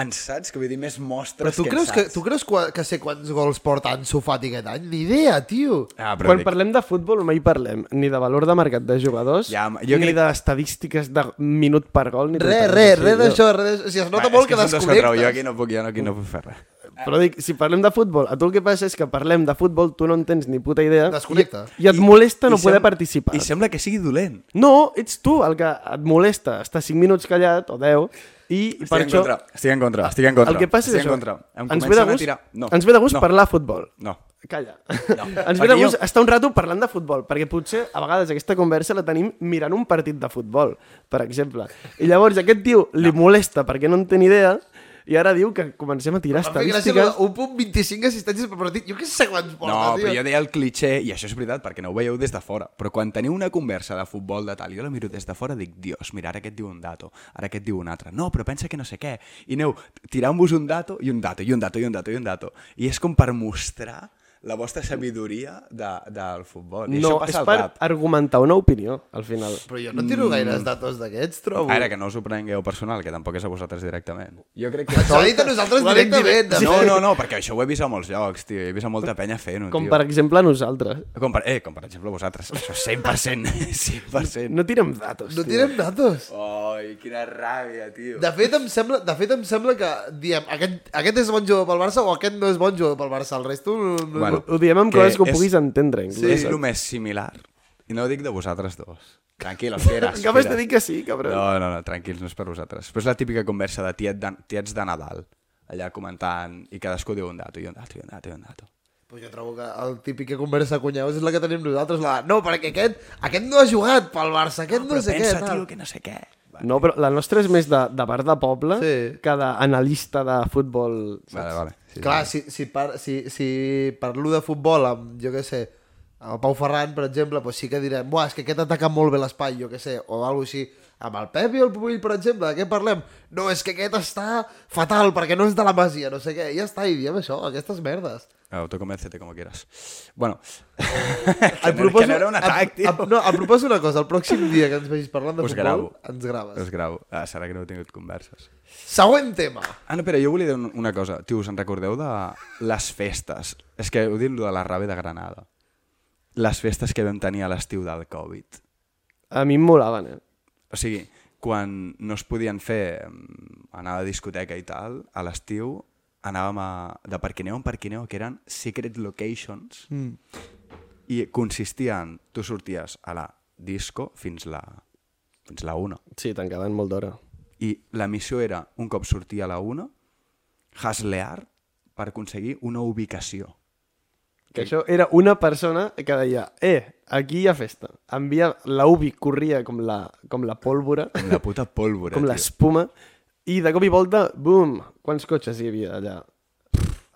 Speaker 5: ensaig, que vull dir, més mostres
Speaker 4: Però tu
Speaker 5: que
Speaker 4: creus, que,
Speaker 5: ensats.
Speaker 4: tu creus qua- que sé quants gols porta Ansu Fati aquest any? Ni idea, tio.
Speaker 5: Ah, però
Speaker 1: Quan
Speaker 5: dic,
Speaker 1: parlem de futbol mai parlem ni de valor de mercat de jugadors, ja,
Speaker 5: Ja, home, jo
Speaker 1: jo ni
Speaker 5: crec-
Speaker 1: d'estadístiques de minut per gol, ni
Speaker 4: Re,
Speaker 1: tonteries
Speaker 4: re,
Speaker 1: així,
Speaker 4: re
Speaker 1: jo.
Speaker 4: d'això, re d'això. O sigui, es nota
Speaker 5: va, és
Speaker 4: molt que,
Speaker 5: és un dos contra un, Jo aquí
Speaker 4: desconnectes.
Speaker 5: no puc, jo no, aquí no puc fer res.
Speaker 1: Però dic, si parlem de futbol, a tu el que passa és que parlem de futbol, tu no en tens ni puta idea.
Speaker 4: Desconnecta.
Speaker 1: I, i et molesta no
Speaker 5: i
Speaker 1: poder
Speaker 5: sem-
Speaker 1: participar.
Speaker 5: I sembla que sigui dolent.
Speaker 1: No, ets tu el que et molesta estar 5 minuts callat, o 10, i
Speaker 5: Estic
Speaker 1: per
Speaker 5: en
Speaker 1: això...
Speaker 5: contra, estic en contra, estic en contra.
Speaker 1: El que passa
Speaker 5: estic
Speaker 1: és
Speaker 5: en
Speaker 1: això.
Speaker 5: contra. Em
Speaker 1: Ens ve de
Speaker 5: comencen a
Speaker 1: gust,
Speaker 5: tirar- No,
Speaker 1: ens ve de gust
Speaker 5: no,
Speaker 1: parlar de futbol.
Speaker 5: No.
Speaker 1: Calla.
Speaker 5: No.
Speaker 1: ens ve de
Speaker 5: Perquè
Speaker 1: gust
Speaker 5: jo-
Speaker 1: estar un rato parlant de futbol, perquè potser a vegades aquesta conversa la tenim mirant un partit de futbol, per exemple. I llavors aquest tio li molesta perquè no en té ni idea i ara diu que comencem a tirar
Speaker 4: Em fa gràcia allò
Speaker 5: uh,
Speaker 1: estadístiques.
Speaker 4: de 1.25 assistències per partit. Jo què sé quants porta,
Speaker 5: No,
Speaker 4: tio.
Speaker 5: però jo deia el cliché, i això és veritat, perquè no ho veieu des de fora, però quan teniu una conversa de futbol de tal, jo la miro des de fora, dic, dios, mira, ara aquest diu un dato, ara aquest diu un altre, no, però pensa que no sé què, i aneu tirant-vos un dato, i un dato, i un dato, i un dato, i un dato, i és com per mostrar la vostra sabidoria de, del futbol. I
Speaker 1: No, és
Speaker 5: això passa al
Speaker 1: per
Speaker 5: rap.
Speaker 1: argumentar una opinió, al final.
Speaker 4: Però jo no tiro gaires datos d'aquests, trobo.
Speaker 5: Mm. Ara que no us ho prengueu personal, que tampoc és a vosaltres directament. Jo crec que...
Speaker 4: Ens ho ha dit a nosaltres
Speaker 1: Ho ha dit
Speaker 4: directament. de
Speaker 5: No,
Speaker 4: fet.
Speaker 5: no, no, perquè això ho he vist a molts llocs, tio. He vist a molta penya fent-ho,
Speaker 1: eh? Com
Speaker 5: tio.
Speaker 1: per exemple nosaltres.
Speaker 5: Com per... Eh, com per exemple vosaltres. Això 100%. 100%.
Speaker 1: No tirem datos,
Speaker 4: No
Speaker 1: tio.
Speaker 4: tirem datos.
Speaker 5: Ai, quina ràbia, tio.
Speaker 4: De fet, em sembla, de fet, em sembla que diem aquest, aquest és bon jugador pel Barça o aquest no és bon jugador pel Barça. El resto... No, no,
Speaker 5: Bueno,
Speaker 1: Ho diem amb
Speaker 5: que
Speaker 1: coses que ho
Speaker 5: és-
Speaker 1: puguis entendre, inclús.
Speaker 5: Sí. És el més similar. I no ho dic de vosaltres dos. Tranquil, fieres.
Speaker 1: Acabes de
Speaker 5: fieres.
Speaker 1: dir que sí, cabrón.
Speaker 5: No, no, no, tranquils, no és per vosaltres. Però és la típica conversa de tiet de, tiets de Nadal, allà comentant, i cadascú diu un dato, i un dato, i un dato, i un dato.
Speaker 4: Pues jo trobo que el típic que conversa a cunyaus és la que tenim nosaltres, la de, no, perquè aquest, aquest no ha jugat pel Barça, aquest no,
Speaker 5: Però
Speaker 4: sé
Speaker 5: pensa,
Speaker 4: què, tal.
Speaker 5: tio, que no sé què. Va.
Speaker 1: No, però la nostra és més de, de bar de poble
Speaker 4: Sí.
Speaker 1: que d'analista de futbol. saps?
Speaker 5: Vale, vale.
Speaker 4: Clar, si, si, par, si, si parlo de futbol amb, jo què sé, el Pau Ferran, per exemple, doncs sí que direm Buah, és que aquest ataca molt bé l'espai, jo què sé, o alguna així. Amb el Pep i el Pubill, per exemple, de què parlem? No, és que aquest està fatal, perquè no és de la Masia, no sé què. Ja està, i diem això, aquestes merdes.
Speaker 5: Ah, autoconvéncete como quieras. Bueno,
Speaker 4: Et
Speaker 5: que no era un atac,
Speaker 4: et,
Speaker 5: tio.
Speaker 4: et, no, et proposo una cosa, el pròxim dia que ens vegis parlant de
Speaker 5: Us
Speaker 4: futbol,
Speaker 5: gravo.
Speaker 4: ens graves.
Speaker 5: Es grau. Ah, serà que no he tingut converses.
Speaker 4: Següent tema.
Speaker 5: Ah, no, però jo volia dir un- una cosa. Tio, us en recordeu de les festes? És que heu dit lo de la rave de Granada. Les festes que vam tenir a l'estiu del Covid.
Speaker 1: A mi em molaven, eh?
Speaker 5: O sigui, quan no es podien fer mm, anar a discoteca i tal, a l'estiu anàvem a, de parquineu en parquineu, que eren secret locations, mm. i consistien... Tu sorties a la disco fins la, fins la una.
Speaker 1: Sí, tancaven molt d'hora.
Speaker 5: I la missió era, un cop sortia a la una, haslear per aconseguir una ubicació.
Speaker 1: Que això era una persona que deia eh, aquí hi ha festa. Envia, la ubi corria com la, com la pólvora,
Speaker 5: Com la puta pólvora,
Speaker 1: com
Speaker 5: tio.
Speaker 1: l'espuma, i de cop i volta, bum, quants cotxes hi havia allà?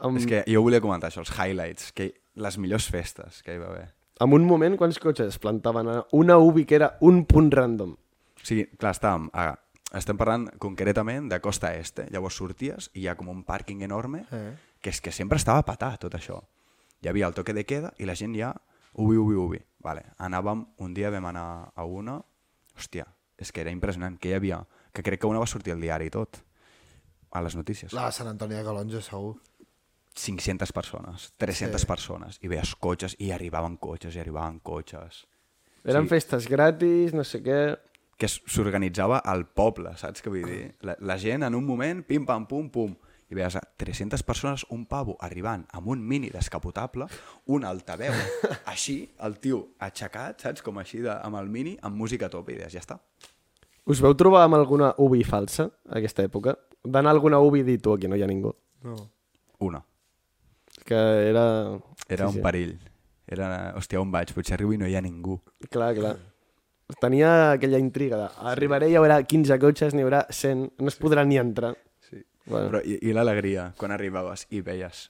Speaker 1: Amb,
Speaker 5: És que jo volia comentar això, els highlights, que les millors festes que hi va haver.
Speaker 1: en un moment, quants cotxes plantaven a una ubi que era un punt random?
Speaker 5: O sigui, clar, estàvem, a, estem parlant concretament de costa este. Llavors sorties i hi ha com un pàrquing enorme eh. que és que sempre estava patat tot això. Hi havia el toque de queda i la gent ja ubi, ubi, ubi. Vale. Anàvem, un dia vam anar a una... Hòstia, és que era impressionant, que hi havia... Que crec que una va sortir al diari i tot, a les notícies.
Speaker 4: La Sant Antoni de Calonja, segur.
Speaker 5: 500 persones, 300 sí. persones, i veies cotxes, i arribaven cotxes, i arribaven cotxes.
Speaker 1: Eren sí. festes gratis, no sé què...
Speaker 5: que s- s'organitzava al poble, saps què vull dir? La, la gent en un moment, pim, pam, pum, pum, i veies a 300 persones, un pavo arribant amb un mini descapotable, un altaveu, així, el tio aixecat, saps? Com així, de, amb el mini, amb música a tope, i deies, ja està.
Speaker 1: Us veu trobar amb alguna ubi falsa, a aquesta època? D'anar a alguna ubi i dir, tu, aquí no hi ha ningú.
Speaker 4: No.
Speaker 5: Una.
Speaker 1: Que era...
Speaker 5: Era sí, un perill. Era, hòstia, on vaig? Potser arribo i no hi ha ningú.
Speaker 1: Clar, clar. Tenia aquella intriga de arribaré i hi haurà 15 cotxes, n'hi haurà 100, no es podrà ni entrar.
Speaker 5: Sí.
Speaker 1: Bueno.
Speaker 5: Bueno. Però, I i l'alegria, quan arribaves i veies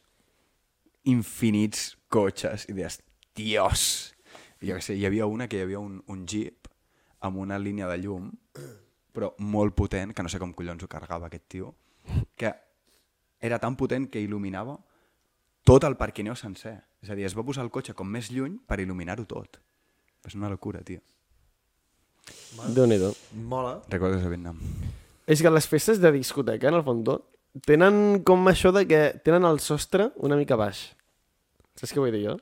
Speaker 5: infinits cotxes i deies, dios! I Jo què sé, hi havia una que hi havia un, un jeep amb una línia de llum, però molt potent, que no sé com collons ho carregava aquest tio, que era tan potent que il·luminava tot el parquineu sencer. És a dir, es va posar el cotxe com més lluny per il·luminar-ho tot. És una locura, tio.
Speaker 1: déu nhi
Speaker 4: Mola.
Speaker 5: Recordes a Vietnam?
Speaker 1: És que les festes de discoteca, en el fons, tenen com això de que tenen el sostre una mica baix. Saps què vull dir jo?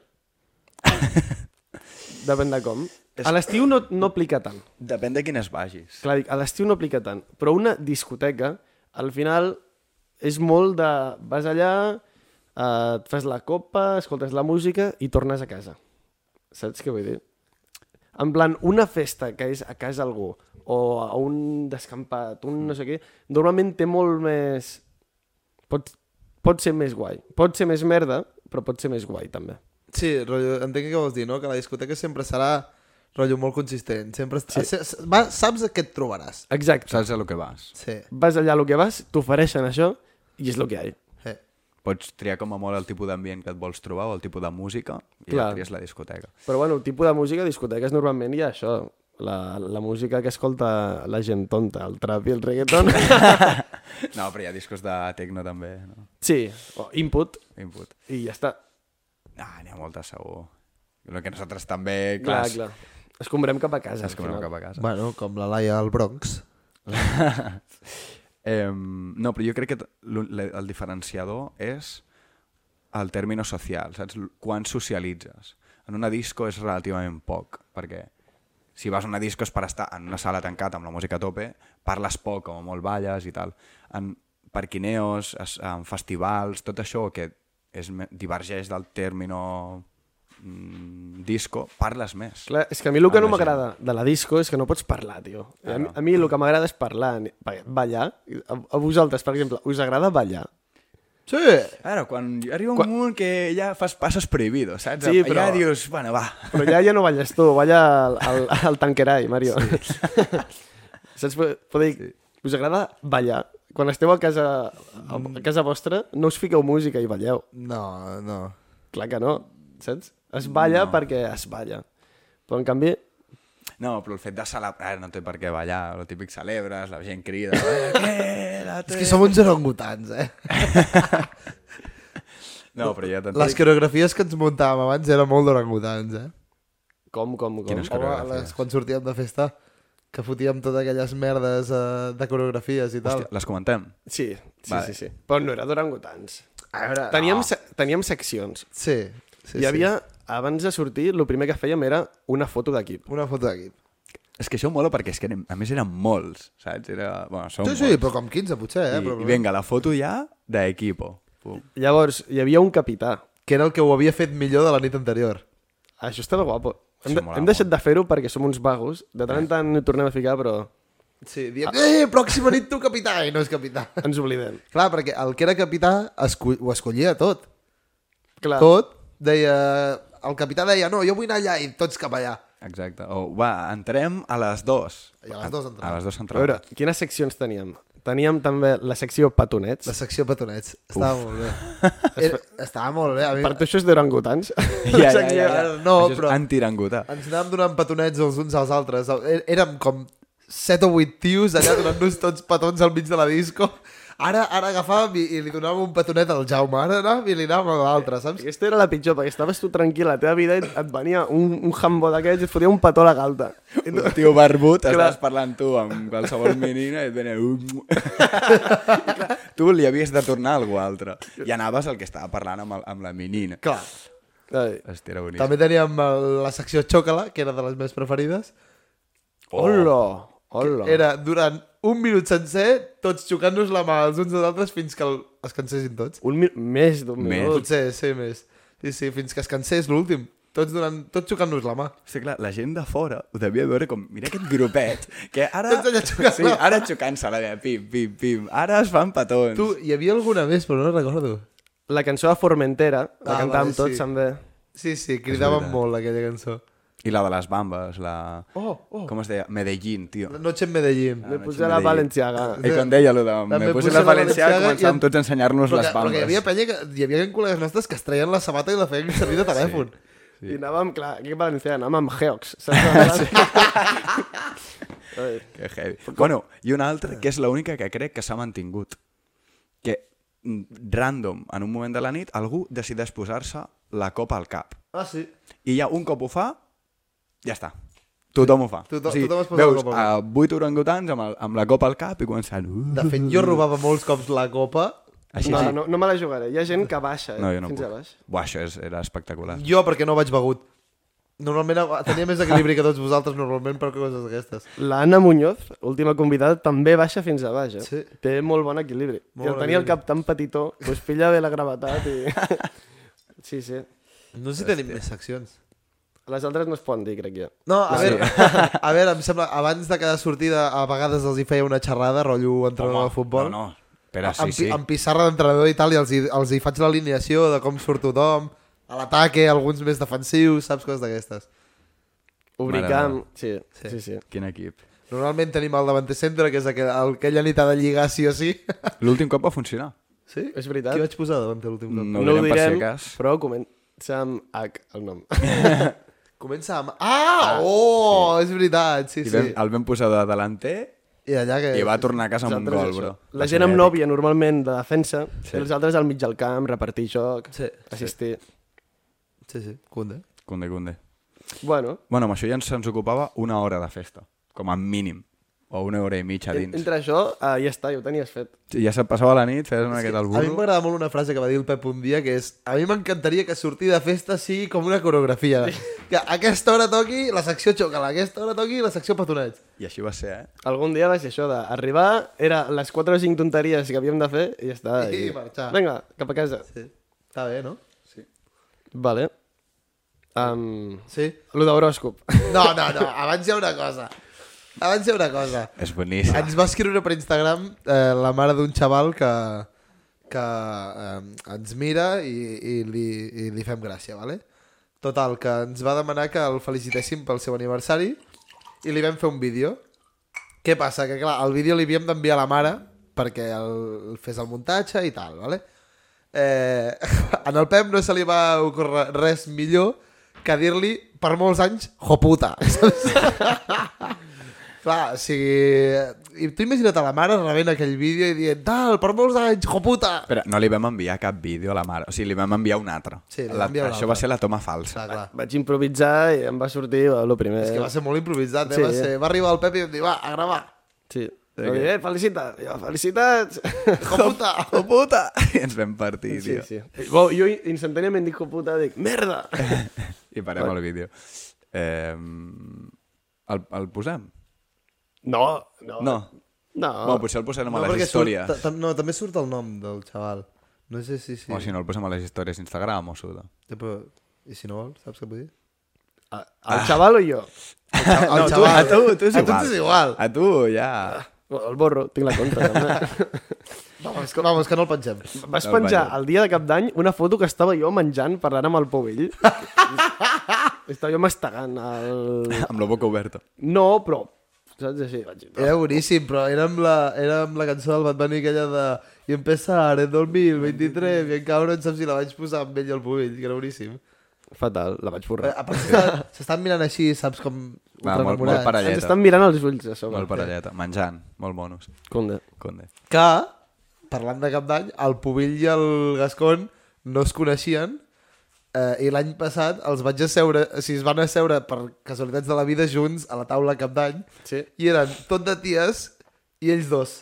Speaker 1: Depèn de com. A l'estiu no, no aplica tant.
Speaker 5: Depèn de quines vagis.
Speaker 1: Clar, dic, a l'estiu no aplica tant, però una discoteca, al final, és molt de... Vas allà, eh, et fas la copa, escoltes la música i tornes a casa. Saps què vull dir? En plan, una festa que és a casa algú, o a un descampat, un no sé què, normalment té molt més... Pot, pot ser més guai. Pot ser més merda, però pot ser més guai, també.
Speaker 4: Sí, rotllo, entenc què vols dir, no? Que la discoteca sempre serà rotllo molt consistent. Sempre est... sí. Va, saps a què et trobaràs.
Speaker 1: Exacte.
Speaker 5: Saps a lo que vas.
Speaker 4: Sí.
Speaker 1: Vas allà a lo que vas, t'ofereixen això, i és el que hi ha.
Speaker 4: Eh.
Speaker 5: Pots triar com a molt el tipus d'ambient que et vols trobar o el tipus de música i Clar.
Speaker 1: Clar.
Speaker 5: ja tries la discoteca.
Speaker 1: Però bueno, el tipus de música a discoteques normalment hi ha això, la, la música que escolta la gent tonta, el trap i el reggaeton.
Speaker 5: No, però hi ha discos de techno també, no?
Speaker 1: sí, o input,
Speaker 5: Input.
Speaker 1: i ja està.
Speaker 5: Ah, n'hi ha molta segur. El que nosaltres també,
Speaker 1: Clar,
Speaker 5: clar,
Speaker 1: clar. Escombrem cap a casa.
Speaker 5: ens comem
Speaker 1: al final.
Speaker 5: cap a casa.
Speaker 4: Bueno, com la Laia al Bronx.
Speaker 5: Eh, no, però jo crec que t- l'un- l- el diferenciador és el término social, saps? L- Quan socialitzes. En una disco és relativament poc, perquè si vas a una disco és per estar en una sala tancada amb la música a tope, parles poc, com a molt balles i tal. En parquineos, es- en festivals, tot això que és, me- divergeix del término mm, disco, parles més.
Speaker 1: Clar, és que a mi el que
Speaker 5: Amb
Speaker 1: no
Speaker 5: la gent.
Speaker 1: m'agrada de la disco és que no pots parlar, tio. A, mi,
Speaker 5: Claro.
Speaker 1: a mi el que m'agrada és parlar, ni- ba- ballar. A, a vosaltres, per exemple, us agrada ballar?
Speaker 4: Sí!
Speaker 5: Ara, quan arriba un quan... moment que ja fas passos prohibidos, saps?
Speaker 1: Sí,
Speaker 5: Ja
Speaker 1: però-
Speaker 5: dius, bueno, va.
Speaker 1: Però ja ja no balles tu, balla el, el, el tanquerai, Mario. Sí. Saps? Però- Però dic, us agrada ballar? Quan esteu a casa, a, a casa vostra, no us fiqueu música i balleu.
Speaker 4: No, no.
Speaker 1: Clar que no. saps? Es balla no. perquè es balla. Però, en canvi,
Speaker 5: No, però el fet de celebrar, no té per què ballar, el típic celebres, la gent crida... "Eh, quédate".
Speaker 4: És que som uns orangutans, eh?
Speaker 5: No, però ja t'entenc.
Speaker 4: Les coreografies que ens muntàvem abans eren molt d'orangutans, eh?
Speaker 1: com, com, com?
Speaker 5: Quines
Speaker 1: Home,
Speaker 4: Home,
Speaker 5: coreografies?
Speaker 4: les, quan sortíem de festa, que fotíem totes aquelles merdes eh, de coreografies i tal.
Speaker 5: Hòstia, les comentem?
Speaker 1: Sí, sí,
Speaker 5: Vale.
Speaker 1: vale. sí, sí. Però no era d'orangutans.
Speaker 4: A veure,
Speaker 1: Teníem, se teníem seccions.
Speaker 4: Sí, sí,
Speaker 1: Sí, Hi havia, sí. abans de sortir, el primer que fèiem era una foto d'equip.
Speaker 4: sí. Una foto d'equip.
Speaker 5: És que això mola perquè és que, anem- a més, eren molts, saps? Era... Bueno, som
Speaker 4: Sí, sí, però com 15, potser, eh?
Speaker 5: I,
Speaker 4: però,
Speaker 5: I vinga, la foto ja d'equipo. Pum.
Speaker 1: Llavors, hi havia un capità.
Speaker 4: Que era el que ho havia fet millor de la nit anterior.
Speaker 1: Això estava guapo. Hem,
Speaker 5: Això
Speaker 1: de,
Speaker 5: molava
Speaker 1: hem deixat de fer-ho perquè som uns vagos. De
Speaker 4: Eh.
Speaker 1: tant en tant ho tornem a ficar, però
Speaker 4: Sí, diem, eh, pròxima nit tu capità, i no és capità.
Speaker 1: ens oblidem.
Speaker 4: Clar, perquè el que era capità esco ho escollia tot.
Speaker 1: Clar,
Speaker 4: Tot, deia... El capità deia, no, jo vull anar allà, i tots cap allà.
Speaker 5: Exacte. O, va, entrem a les dues.
Speaker 4: I a les dues entrem.
Speaker 5: A les dues
Speaker 1: a
Speaker 5: entrem.
Speaker 1: veure, quines seccions teníem? Teníem també la secció petonets.
Speaker 4: La secció petonets. Estava Uf. molt bé. Era, estava molt bé. A mi...
Speaker 1: Per tu això és d'orangutans?
Speaker 5: Ja, ja, ja, ja.
Speaker 4: Exacte. No,
Speaker 5: Això és
Speaker 4: però-
Speaker 5: antirangutà.
Speaker 4: Ens anàvem donant petonets els uns als altres. É- Érem com set o vuit tios allà donant-nos tots petons al mig de la disco. Ara, ara agafàvem i, i li donàvem un petonet al Jaume, ara anàvem i li anàvem a l'altre, saps?
Speaker 1: Aquesta era la pitjor, perquè estaves tu tranquil a la teva vida i et venia un, un jambo d'aquests i et fotia un petó a la galta. I tu,
Speaker 5: Un tio barbut,
Speaker 1: Clar.
Speaker 5: estàs parlant tu amb qualsevol menina i et venia... "Um". tu li havies de tornar a algú altre. I anaves al que estava parlant amb, el, amb la menina.
Speaker 4: Clar.
Speaker 1: Ai.
Speaker 5: Hòstia, era boníssim.
Speaker 4: També teníem el- la secció xòcala, que era de les més preferides.
Speaker 1: Hola, hola.
Speaker 4: Oh. Era durant un minut sencer, tots xocant-nos la mà els uns als altres fins que el, es cansessin tots.
Speaker 1: Un mi... Més d'un
Speaker 5: Més.
Speaker 1: minut.
Speaker 4: Potser, sí, més. Sí, sí, fins que es cansés l'últim. Tots, donant, tots xocant-nos la mà.
Speaker 5: Sí, clar, la gent de fora ho devia veure com, mira aquest grupet, que ara...
Speaker 4: Tots allà xocant.
Speaker 5: Sí, ara xocant-se, la vea, pim, pim, pim. Ara es fan petons.
Speaker 4: Tu, hi havia alguna més, però no recordo.
Speaker 1: La cançó de Formentera, la
Speaker 4: Ah,
Speaker 1: ah, cantàvem
Speaker 4: vale,
Speaker 1: vale, tots,
Speaker 4: sí. Ah,
Speaker 1: sí. també.
Speaker 4: Sí, sí,
Speaker 5: És
Speaker 4: cridaven
Speaker 5: veritat.
Speaker 4: molt aquella cançó.
Speaker 5: I la de les bambes, la...
Speaker 4: Oh, oh.
Speaker 5: Com es deia? Medellín, tio.
Speaker 4: La noche en Medellín.
Speaker 1: Me
Speaker 5: no,
Speaker 1: puse
Speaker 5: això
Speaker 1: la
Speaker 5: m'he dit.
Speaker 1: Valenciaga.
Speaker 5: I quan deia allò de...
Speaker 4: També
Speaker 5: Me puse la valenciana i començàvem tots a ensenyar-nos
Speaker 4: Però
Speaker 5: les
Speaker 4: que- Però
Speaker 5: bambes.
Speaker 4: que hi havia penya que... Hi havia col·legues nostres que es treien la sabata i la feien servir de telèfon.
Speaker 1: Sí. I anàvem, clar, aquí a Valenciaga anàvem amb Geox. Saps? sí.
Speaker 5: Que heavy. Bueno, i una altra, que és l'única que crec que s'ha mantingut. Que mm, random, en un moment de la nit, algú decideix posar-se la copa al cap.
Speaker 4: Ah, sí.
Speaker 5: I ja un cop ho fa, ja està. Tothom ho fa.
Speaker 4: Tothom- tothom es posa la
Speaker 5: veus
Speaker 4: copa
Speaker 5: a
Speaker 4: al
Speaker 5: vuit orangutans amb, el, amb la copa al cap i començant... Uh,
Speaker 4: De fet, jo robava molts cops la copa.
Speaker 5: així,
Speaker 1: No,
Speaker 5: així.
Speaker 1: no, no me la jugaré. Hi ha gent que baixa, eh?
Speaker 5: no, jo no
Speaker 1: fins
Speaker 5: puc.
Speaker 1: a baix.
Speaker 5: Buah, això és, era espectacular.
Speaker 4: Jo, perquè no vaig begut. Normalment agu- tenia més equilibri que tots vosaltres normalment per coses d'aquestes.
Speaker 1: L'Anna Muñoz, última convidada, també baixa fins a baix, eh?
Speaker 4: Sí.
Speaker 1: Té molt bon equilibri.
Speaker 4: Molt
Speaker 1: Molt I
Speaker 4: bon
Speaker 1: el tenia el
Speaker 4: equilibri.
Speaker 1: cap tan petitó, doncs pilla bé la gravetat i... sí, sí.
Speaker 4: No sé si tenim més seccions.
Speaker 1: Les altres no es poden dir, crec jo.
Speaker 4: No, a veure, a veure, em sembla, abans de cada sortida a vegades els hi feia una xerrada, rotllo entrenador de futbol.
Speaker 5: No, no. Espera, sí,
Speaker 4: amb,
Speaker 5: sí.
Speaker 4: amb pissarra d'entrenador i tal, i els hi, els hi faig l'alineació de com surt tothom, a l'ataque, alguns més defensius, saps, coses d'aquestes.
Speaker 1: Obrir
Speaker 5: Mare
Speaker 1: camp,
Speaker 5: meva.
Speaker 1: sí, sí, sí. sí.
Speaker 5: Quin equip.
Speaker 4: Normalment tenim el davanter centre, que és aquell, el que ella nit ha de lligar sí o sí.
Speaker 5: L'últim cop va funcionar.
Speaker 4: Sí?
Speaker 1: És veritat.
Speaker 4: Qui vaig posar davant l'últim cop?
Speaker 5: No, no ho direm per si de cas.
Speaker 1: però comença amb H, el nom.
Speaker 4: Comença amb... Ah! Oh! És veritat, sí,
Speaker 5: I
Speaker 4: sí.
Speaker 5: vam, el vam posar de delanter
Speaker 4: I allà que...
Speaker 5: i va tornar a casa amb un
Speaker 1: Nosaltres
Speaker 5: gol,
Speaker 1: això.
Speaker 5: bro.
Speaker 1: La gent amb
Speaker 5: novi.
Speaker 1: nòvia, normalment, de defensa,
Speaker 5: Sí.
Speaker 1: sí. i els altres al mig del camp, repartir joc,
Speaker 4: Sí,
Speaker 1: sí. assistir... Sí.
Speaker 4: Sí, sí, Cunde.
Speaker 5: Cunde, cunde.
Speaker 1: Bueno,
Speaker 5: Bueno, amb això ja ens, ens ocupava una hora de festa, com a mínim. O una hora i mitja
Speaker 1: en,
Speaker 5: dins.
Speaker 1: entre això, ah, ja està, ja ho tenies fet.
Speaker 5: Sí, Ja se passava la nit, feies una miqueta al
Speaker 4: A mi
Speaker 5: burro.
Speaker 4: m'agrada molt una frase que va dir el Pep un dia, que és a mi m'encantaria que sortir de festa sigui com una coreografia. Que a aquesta hora toqui la secció xocala, a aquesta hora toqui la secció petonets.
Speaker 5: I així va ser, eh?
Speaker 1: Algun dia va ser això d'arribar, era les 4 o 5 tonteries que havíem de fer i ja està.
Speaker 4: I marxar.
Speaker 1: Vinga, cap a casa. Sí.
Speaker 4: Sí. Està bé, no?
Speaker 1: Vale. Um,
Speaker 4: Sí.
Speaker 1: lo d'horòscop.
Speaker 4: No, no, no, abans hi ha una cosa. Abans hi ha una cosa.
Speaker 5: És boníssim.
Speaker 4: Ens va escriure per Instagram eh, la mare d'un xaval que, que eh, ens mira i, i, li, i li fem gràcia, vale? Total, que ens va demanar que el felicitéssim pel seu aniversari i li vam fer un vídeo. Què passa? Que clar, el vídeo li havíem d'enviar a la mare perquè el, el fes el muntatge i tal, vale? Eh, en el Pep no se li va ocórrer res millor que dir-li per molts anys joputa. saps? Clar, o sigui... I tu imagina't a la mare rebent aquell vídeo i dient tal, per molts anys, joputa!
Speaker 5: Però no li vam enviar cap vídeo a la mare. O sigui, li vam enviar un altre.
Speaker 4: Sí, li vam
Speaker 5: la,
Speaker 4: enviar un
Speaker 5: això
Speaker 4: altre.
Speaker 5: va ser la toma falsa.
Speaker 4: Clar, clar.
Speaker 1: Vaig improvisar i em va sortir el primer.
Speaker 4: Ah. És que va ser molt improvisat, eh?
Speaker 1: Sí.
Speaker 4: va, ser, va arribar el Pep i em dir, va, a gravar.
Speaker 1: Sí. Va dir, eh, felicitat. Jo, felicitats.
Speaker 4: Joputa!
Speaker 5: Oh, puta! I ens vam partir,
Speaker 1: Sí,
Speaker 5: tio.
Speaker 1: sí. Bo, jo instantàniament dic, "Oh, puta, dic, merda.
Speaker 5: I parem el vídeo. Eh, el, el posem?
Speaker 1: No, no.
Speaker 5: No.
Speaker 1: No.
Speaker 5: Bueno, potser el posarem a les
Speaker 4: Ah. perquè
Speaker 5: històries.
Speaker 4: Surt, ta- ta- no, també surt el nom del xaval. No sé si... si...
Speaker 5: O si no, el posem a les històries d'Instagram o suda.
Speaker 4: Eh, però, I si no vols, saps què vull dir?
Speaker 1: El, el xaval o jo?
Speaker 4: El
Speaker 5: No, tu, a
Speaker 4: xaval.
Speaker 5: tu, tu és
Speaker 4: a
Speaker 5: igual.
Speaker 4: tu és igual.
Speaker 5: A tu, ja.
Speaker 1: El borro, tinc la contra. També.
Speaker 4: Vamos, que, vamos, que no el pengem.
Speaker 1: Vas
Speaker 5: No,
Speaker 1: penjar
Speaker 5: vaja.
Speaker 1: el dia de cap d'any una foto que estava jo menjant parlant amb el Povell. estava jo mastegant el...
Speaker 5: Amb la boca oberta.
Speaker 1: No, però... Saps així? Vaig dir,
Speaker 4: Era boníssim, però era amb la, era amb la cançó del Bad Bunny aquella de i empezar en 2023, bien cabrón, saps si la vaig posar amb ell al pubill, que era boníssim.
Speaker 1: Fatal, la vaig
Speaker 4: Eh,
Speaker 1: borrar.
Speaker 4: A part s'està- s'estan mirant així, saps com...
Speaker 5: Va, molt, molt
Speaker 4: ultranamorats.
Speaker 5: parelleta.
Speaker 1: Ens estan mirant els ulls a sobre.
Speaker 5: Molt parelleta. Menjant. Molt bonos.
Speaker 1: Conde.
Speaker 5: Conde.
Speaker 4: Que, parlant de cap d'any, el pubill i el Gascon no es coneixien eh, i l'any passat els vaig asseure, o sigui, es van asseure per casualitats de la vida junts a la taula cap d'any
Speaker 1: Sí.
Speaker 4: i eren tot de ties i ells dos,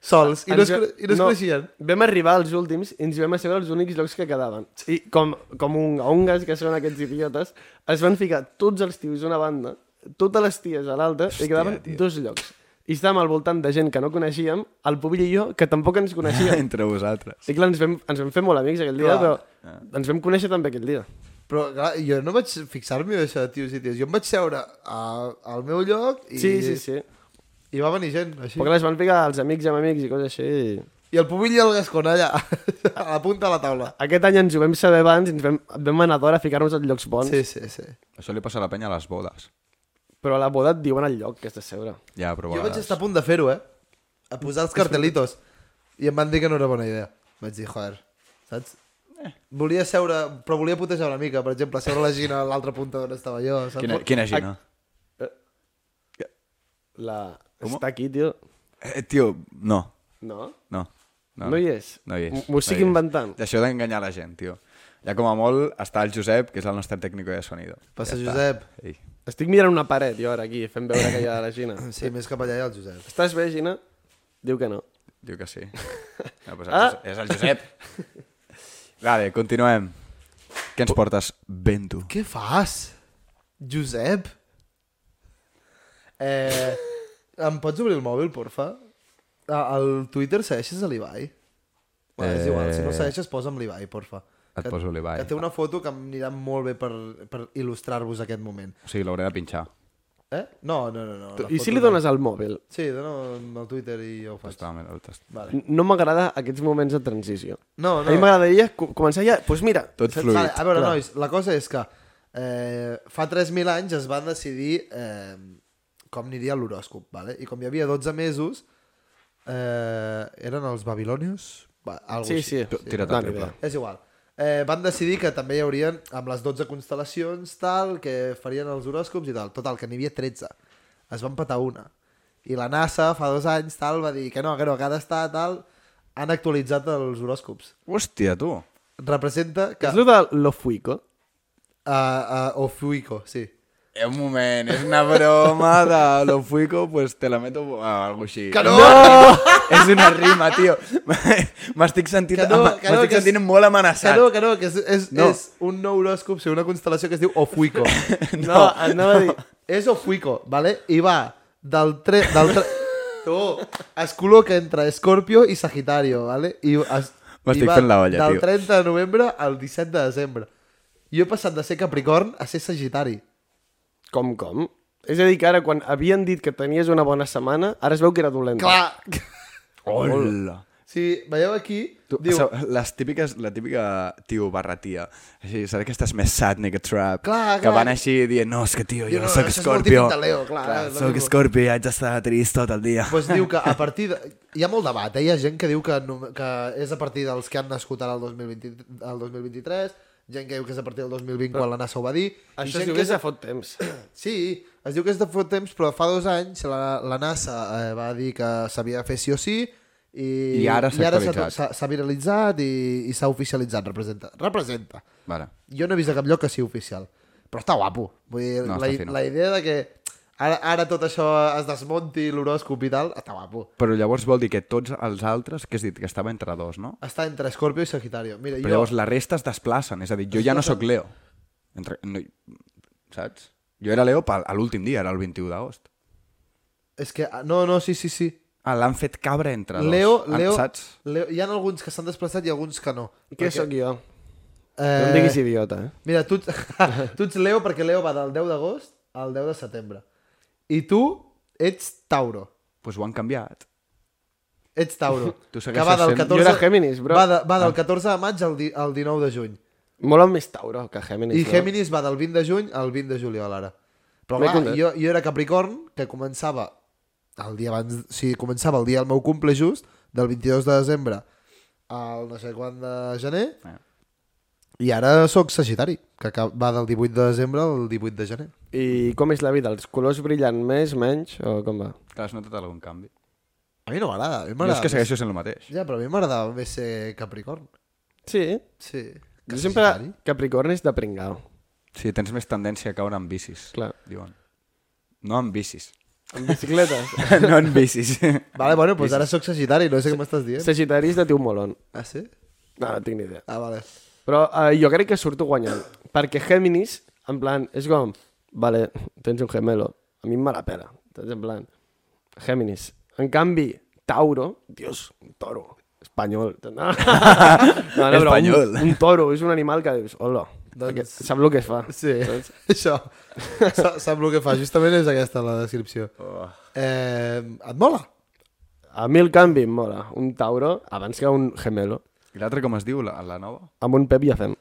Speaker 4: sols, i no es,
Speaker 1: Ens-
Speaker 4: cono- i no es coneixien.
Speaker 1: Vam arribar als últims i ens vam asseure als únics llocs que quedaven. I com, com un ongas que són aquests idiotes, es van ficar tots els tios a una banda, totes les ties a l'altra, i quedaven
Speaker 5: tio.
Speaker 1: dos llocs. I estàvem al voltant de gent que no coneixíem, el Pubill i jo, que tampoc ens coneixíem.
Speaker 5: Entre vosaltres.
Speaker 1: I clar, ens vam, ens vam fer molt amics aquell dia,
Speaker 4: Clar. Ah.
Speaker 1: però ens vam conèixer també aquell dia.
Speaker 4: Però clar, jo no vaig fixar-me en això de tios i tios. Jo em vaig seure a, al meu lloc i,
Speaker 1: Sí, sí, sí.
Speaker 4: i va venir gent, així.
Speaker 1: Però clar, es van ficar els amics amb amics i coses així. I...
Speaker 4: I el pubill i el gascon allà, a la punta de la taula.
Speaker 1: Aquest any ens ho vam saber abans i ens vam, vam anar d'hora a ficar-nos als llocs bons,
Speaker 5: Doncs-
Speaker 4: Sí, sí, sí.
Speaker 5: Això li passa a la penya a les bodes.
Speaker 1: però a la boda et diuen el lloc que has de seure.
Speaker 5: Ja, però a
Speaker 4: Jo vaig
Speaker 5: vegades.
Speaker 4: estar a punt de fer-ho, eh? A posar els cartelitos. I em van dir que no era bona idea. Vaig dir, joder, saps? Volia seure, però volia putejar una mica, per exemple, seure la Gina a l'altra punta d'on estava jo, saps?
Speaker 5: Quina, quina gina?
Speaker 1: La... Està aquí, tio.
Speaker 5: Eh, tio, no.
Speaker 1: No?
Speaker 5: No. No,
Speaker 1: No hi és?
Speaker 5: No hi és.
Speaker 1: M'ho estic
Speaker 5: no hi és.
Speaker 1: inventant.
Speaker 5: Això d'enganyar la gent, tio. Ja com a molt està el Josep, que és el nostre tècnic de sonido.
Speaker 4: Passa,
Speaker 5: ja està.
Speaker 4: Josep.
Speaker 5: Ei.
Speaker 1: Estic mirant una paret, jo, ara, aquí, fent veure que hi ha la Gina.
Speaker 4: Sí, més cap allà hi ha el Josep.
Speaker 1: Estàs bé, Gina? Diu que no.
Speaker 5: Diu que sí. No, pues
Speaker 1: Ah!
Speaker 5: ah? És el Josep. Vale, continuem. Què ens portes ben tu?
Speaker 4: Què fas? Josep? Eh, em pots obrir el mòbil, porfa? A- Al Twitter segueixes a l'Ibai? Bueno, és igual, si no
Speaker 1: Eh.
Speaker 4: el segueixes posa'm l'Ibai, porfa.
Speaker 5: Et poso l'Ibai.
Speaker 4: Que té una foto que em anirà molt bé per, per il·lustrar-vos aquest moment.
Speaker 5: O sigui, l'hauré de pinxar.
Speaker 4: Eh? No, no, no. no la
Speaker 1: I si
Speaker 4: foto
Speaker 1: li
Speaker 4: no.
Speaker 1: dones el mòbil?
Speaker 4: Sí, dona el Twitter i jo ho faig.
Speaker 5: Està, mira, el tast-
Speaker 4: Vale.
Speaker 1: N- No m'agrada aquests moments de transició.
Speaker 4: No, no.
Speaker 1: A mi m'agradaria co- començar ja... Doncs pues mira,
Speaker 5: Tot
Speaker 4: Saps?
Speaker 5: fluid.
Speaker 4: Vale, a veure,
Speaker 1: Clar.
Speaker 4: nois, la cosa és que eh, fa 3.000 anys es van decidir eh, com aniria l'horòscop, vale? i com hi havia 12 mesos, eh, eren els babilonios? Va, algo
Speaker 1: sí, sí.
Speaker 4: així.
Speaker 5: Tu- Tira't
Speaker 1: No,
Speaker 5: al
Speaker 1: ni
Speaker 5: triple.
Speaker 1: idea.
Speaker 4: És igual. Eh, van decidir que també hi haurien, amb les 12 constel·lacions, tal, que farien els horòscops i tal. Total, que n'hi havia 13. Es van patar una. I la NASA, fa dos anys, tal, va dir que no, que no, que ha d'estar, tal... Han actualitzat els horòscops.
Speaker 5: Hòstia, tu.
Speaker 4: Representa que...
Speaker 1: És allò de lo fuico?
Speaker 4: Uh, uh, Ofuico, sí.
Speaker 5: Eh, un moment, és una broma de lo fuico, pues te la meto o algo així.
Speaker 4: Que no!
Speaker 5: És una rima, tio. M'estic sentint,
Speaker 4: Que no,
Speaker 5: ama-
Speaker 4: que no,
Speaker 5: m'estic
Speaker 4: que és-
Speaker 5: sentint molt
Speaker 4: Que
Speaker 5: amenaçat.
Speaker 4: no, que no, que és, és,
Speaker 5: No.
Speaker 4: no. és un nou horòscop, sí, una constel·lació que es diu Ofuico.
Speaker 1: No, anava a dir...
Speaker 4: És Ofuico, vale? I va del 3... Del tre... tu, es col·loca entre Escorpio i Sagitario, vale? I es...
Speaker 5: M'estic
Speaker 4: i va
Speaker 5: fent la olla,
Speaker 4: del
Speaker 5: tio.
Speaker 4: 30 de novembre al 17 de desembre. Jo he passat de ser Capricorn a ser Sagitari.
Speaker 1: Com, com? És a dir, que ara, quan havien dit que tenies una bona setmana, ara es veu que era dolenta.
Speaker 4: Clar!
Speaker 5: Hola.
Speaker 4: Si veieu aquí,
Speaker 5: Tu,
Speaker 4: diu...
Speaker 5: Diu... Les típiques, la típica tio barra tia. Així, saps que estàs més sad, nigga trap.
Speaker 4: Clar,
Speaker 5: que
Speaker 4: clar.
Speaker 5: van així dient, no, és que tio, jo
Speaker 4: Jo no,
Speaker 5: no, soc
Speaker 4: això és molt
Speaker 5: Scorpio.
Speaker 4: típic de Leo, clar, és lo
Speaker 5: soc
Speaker 4: mismo.
Speaker 5: Scorpio i haig d'estar trist tot el dia.
Speaker 4: Pues diu que a partir de... Hi ha molt debat, eh? hi ha gent que diu que, no, que és a partir dels que han nascut ara el, 2020, el 2023, gent que diu que és a partir del 2020 quan la NASA ho va dir, i
Speaker 1: Això
Speaker 4: gent
Speaker 1: es diu
Speaker 4: que
Speaker 1: que és de fot temps.
Speaker 4: Sí, es diu que és de fot temps, però fa dos anys la, la NASA eh, va dir que s'havia de fer sí o sí i,
Speaker 5: I ara s'ha
Speaker 4: s'ha-
Speaker 5: actualitzat.
Speaker 4: s'ha s'ha viralitzat i, i s'ha oficialitzat, representa. Representa.
Speaker 5: Vale.
Speaker 4: Jo no he vist a cap lloc que sigui oficial, però està guapo. Vull dir,
Speaker 5: No,
Speaker 4: no,
Speaker 5: està
Speaker 4: la, i-
Speaker 5: fino.
Speaker 4: la idea de que ara, ara tot això es desmonti l'horòscop i tal, està guapo.
Speaker 5: Però llavors vol dir que tots els altres, que has dit que estava entre dos, no?
Speaker 4: Està entre Scorpio i Sagitario. Mira,
Speaker 5: Però
Speaker 4: jo...
Speaker 5: llavors la resta es desplacen, és a dir, jo ja no sóc Leo. Entre, no, saps? Jo era Leo pel- a l'últim dia, era el 21 d'agost.
Speaker 4: És que... No, no, sí, sí, sí.
Speaker 5: Ah, l'han fet cabre entre dos.
Speaker 4: Leo,
Speaker 5: Ah,
Speaker 4: Leo,
Speaker 5: Saps?
Speaker 4: Leo... Hi ha alguns que s'han desplaçat i alguns que no.
Speaker 1: Què sóc jo?
Speaker 4: Eh,
Speaker 1: No em diguis idiota, eh?
Speaker 4: Mira, tu, ets- tu ets Leo perquè Leo va del 10 d'agost al 10 de setembre. I tu ets Tauro.
Speaker 5: Pues ho han canviat.
Speaker 4: Ets Tauro.
Speaker 5: Tu
Speaker 4: que
Speaker 5: segueixes
Speaker 4: va del
Speaker 5: sent- Ah.
Speaker 4: 14...
Speaker 1: Jo era Géminis, bro.
Speaker 4: Va, de, va del 14 de maig al, di, al 19 de juny.
Speaker 1: Mola més Tauro que Géminis.
Speaker 4: I
Speaker 1: no?
Speaker 4: Géminis va del 20 de juny al 20 de juliol, ara. Però
Speaker 1: M'he
Speaker 4: clar,
Speaker 1: content.
Speaker 4: jo, jo era Capricorn, que començava el dia abans... O sigui, començava el dia del meu cumple just, del 22 de desembre al no sé quan de gener,
Speaker 5: Ah.
Speaker 4: i ara sóc Sagitari, que acab- va del 18 de desembre al 18 de gener.
Speaker 1: I com és la vida? Els colors brillen més, menys, o com va?
Speaker 5: Que has notat algun canvi?
Speaker 4: A mi no m'agrada. a mi
Speaker 5: Jo és
Speaker 4: m'agrada
Speaker 5: que
Speaker 4: més-
Speaker 5: segueixo sent el mateix.
Speaker 4: Ja, però a mi m'agradava més ser Capricorn.
Speaker 1: Sí.
Speaker 4: Sí.
Speaker 1: Jo sempre... Capricorn és de pringao.
Speaker 5: Sí, tens més tendència a caure en bicis,
Speaker 1: Clar.
Speaker 5: diuen. No en bicis.
Speaker 1: Amb bicicletes.
Speaker 5: no en bicis.
Speaker 4: Vale, bueno, doncs ara sóc Sagitari, no sé què m'estàs dient.
Speaker 1: Sagitari és de tio molon.
Speaker 4: Ah, sí?
Speaker 1: No, no tinc ni idea.
Speaker 4: Ah, vale.
Speaker 1: Però eh, jo crec que surto guanyant. Perquè Géminis, en plan, és com... Vale, tens un gemelo. A mi em me la pela. Tens en plan... Géminis. En canvi, Tauro... Dios, un toro. Espanyol. No, no, però
Speaker 5: Espanyol.
Speaker 1: Un, un toro és un animal que dius... Hola,
Speaker 4: Doncs-
Speaker 1: doncs... sap el que es fa.
Speaker 4: Sí, això. Sa- Sap el que fa, justament és aquesta la descripció.
Speaker 5: Oh.
Speaker 4: Eh, et mola?
Speaker 1: A mi el canvi em mola. Un Tauro abans que un gemelo.
Speaker 5: I l'altre com es diu? La, la nova?
Speaker 1: Amb un Pep ja fem.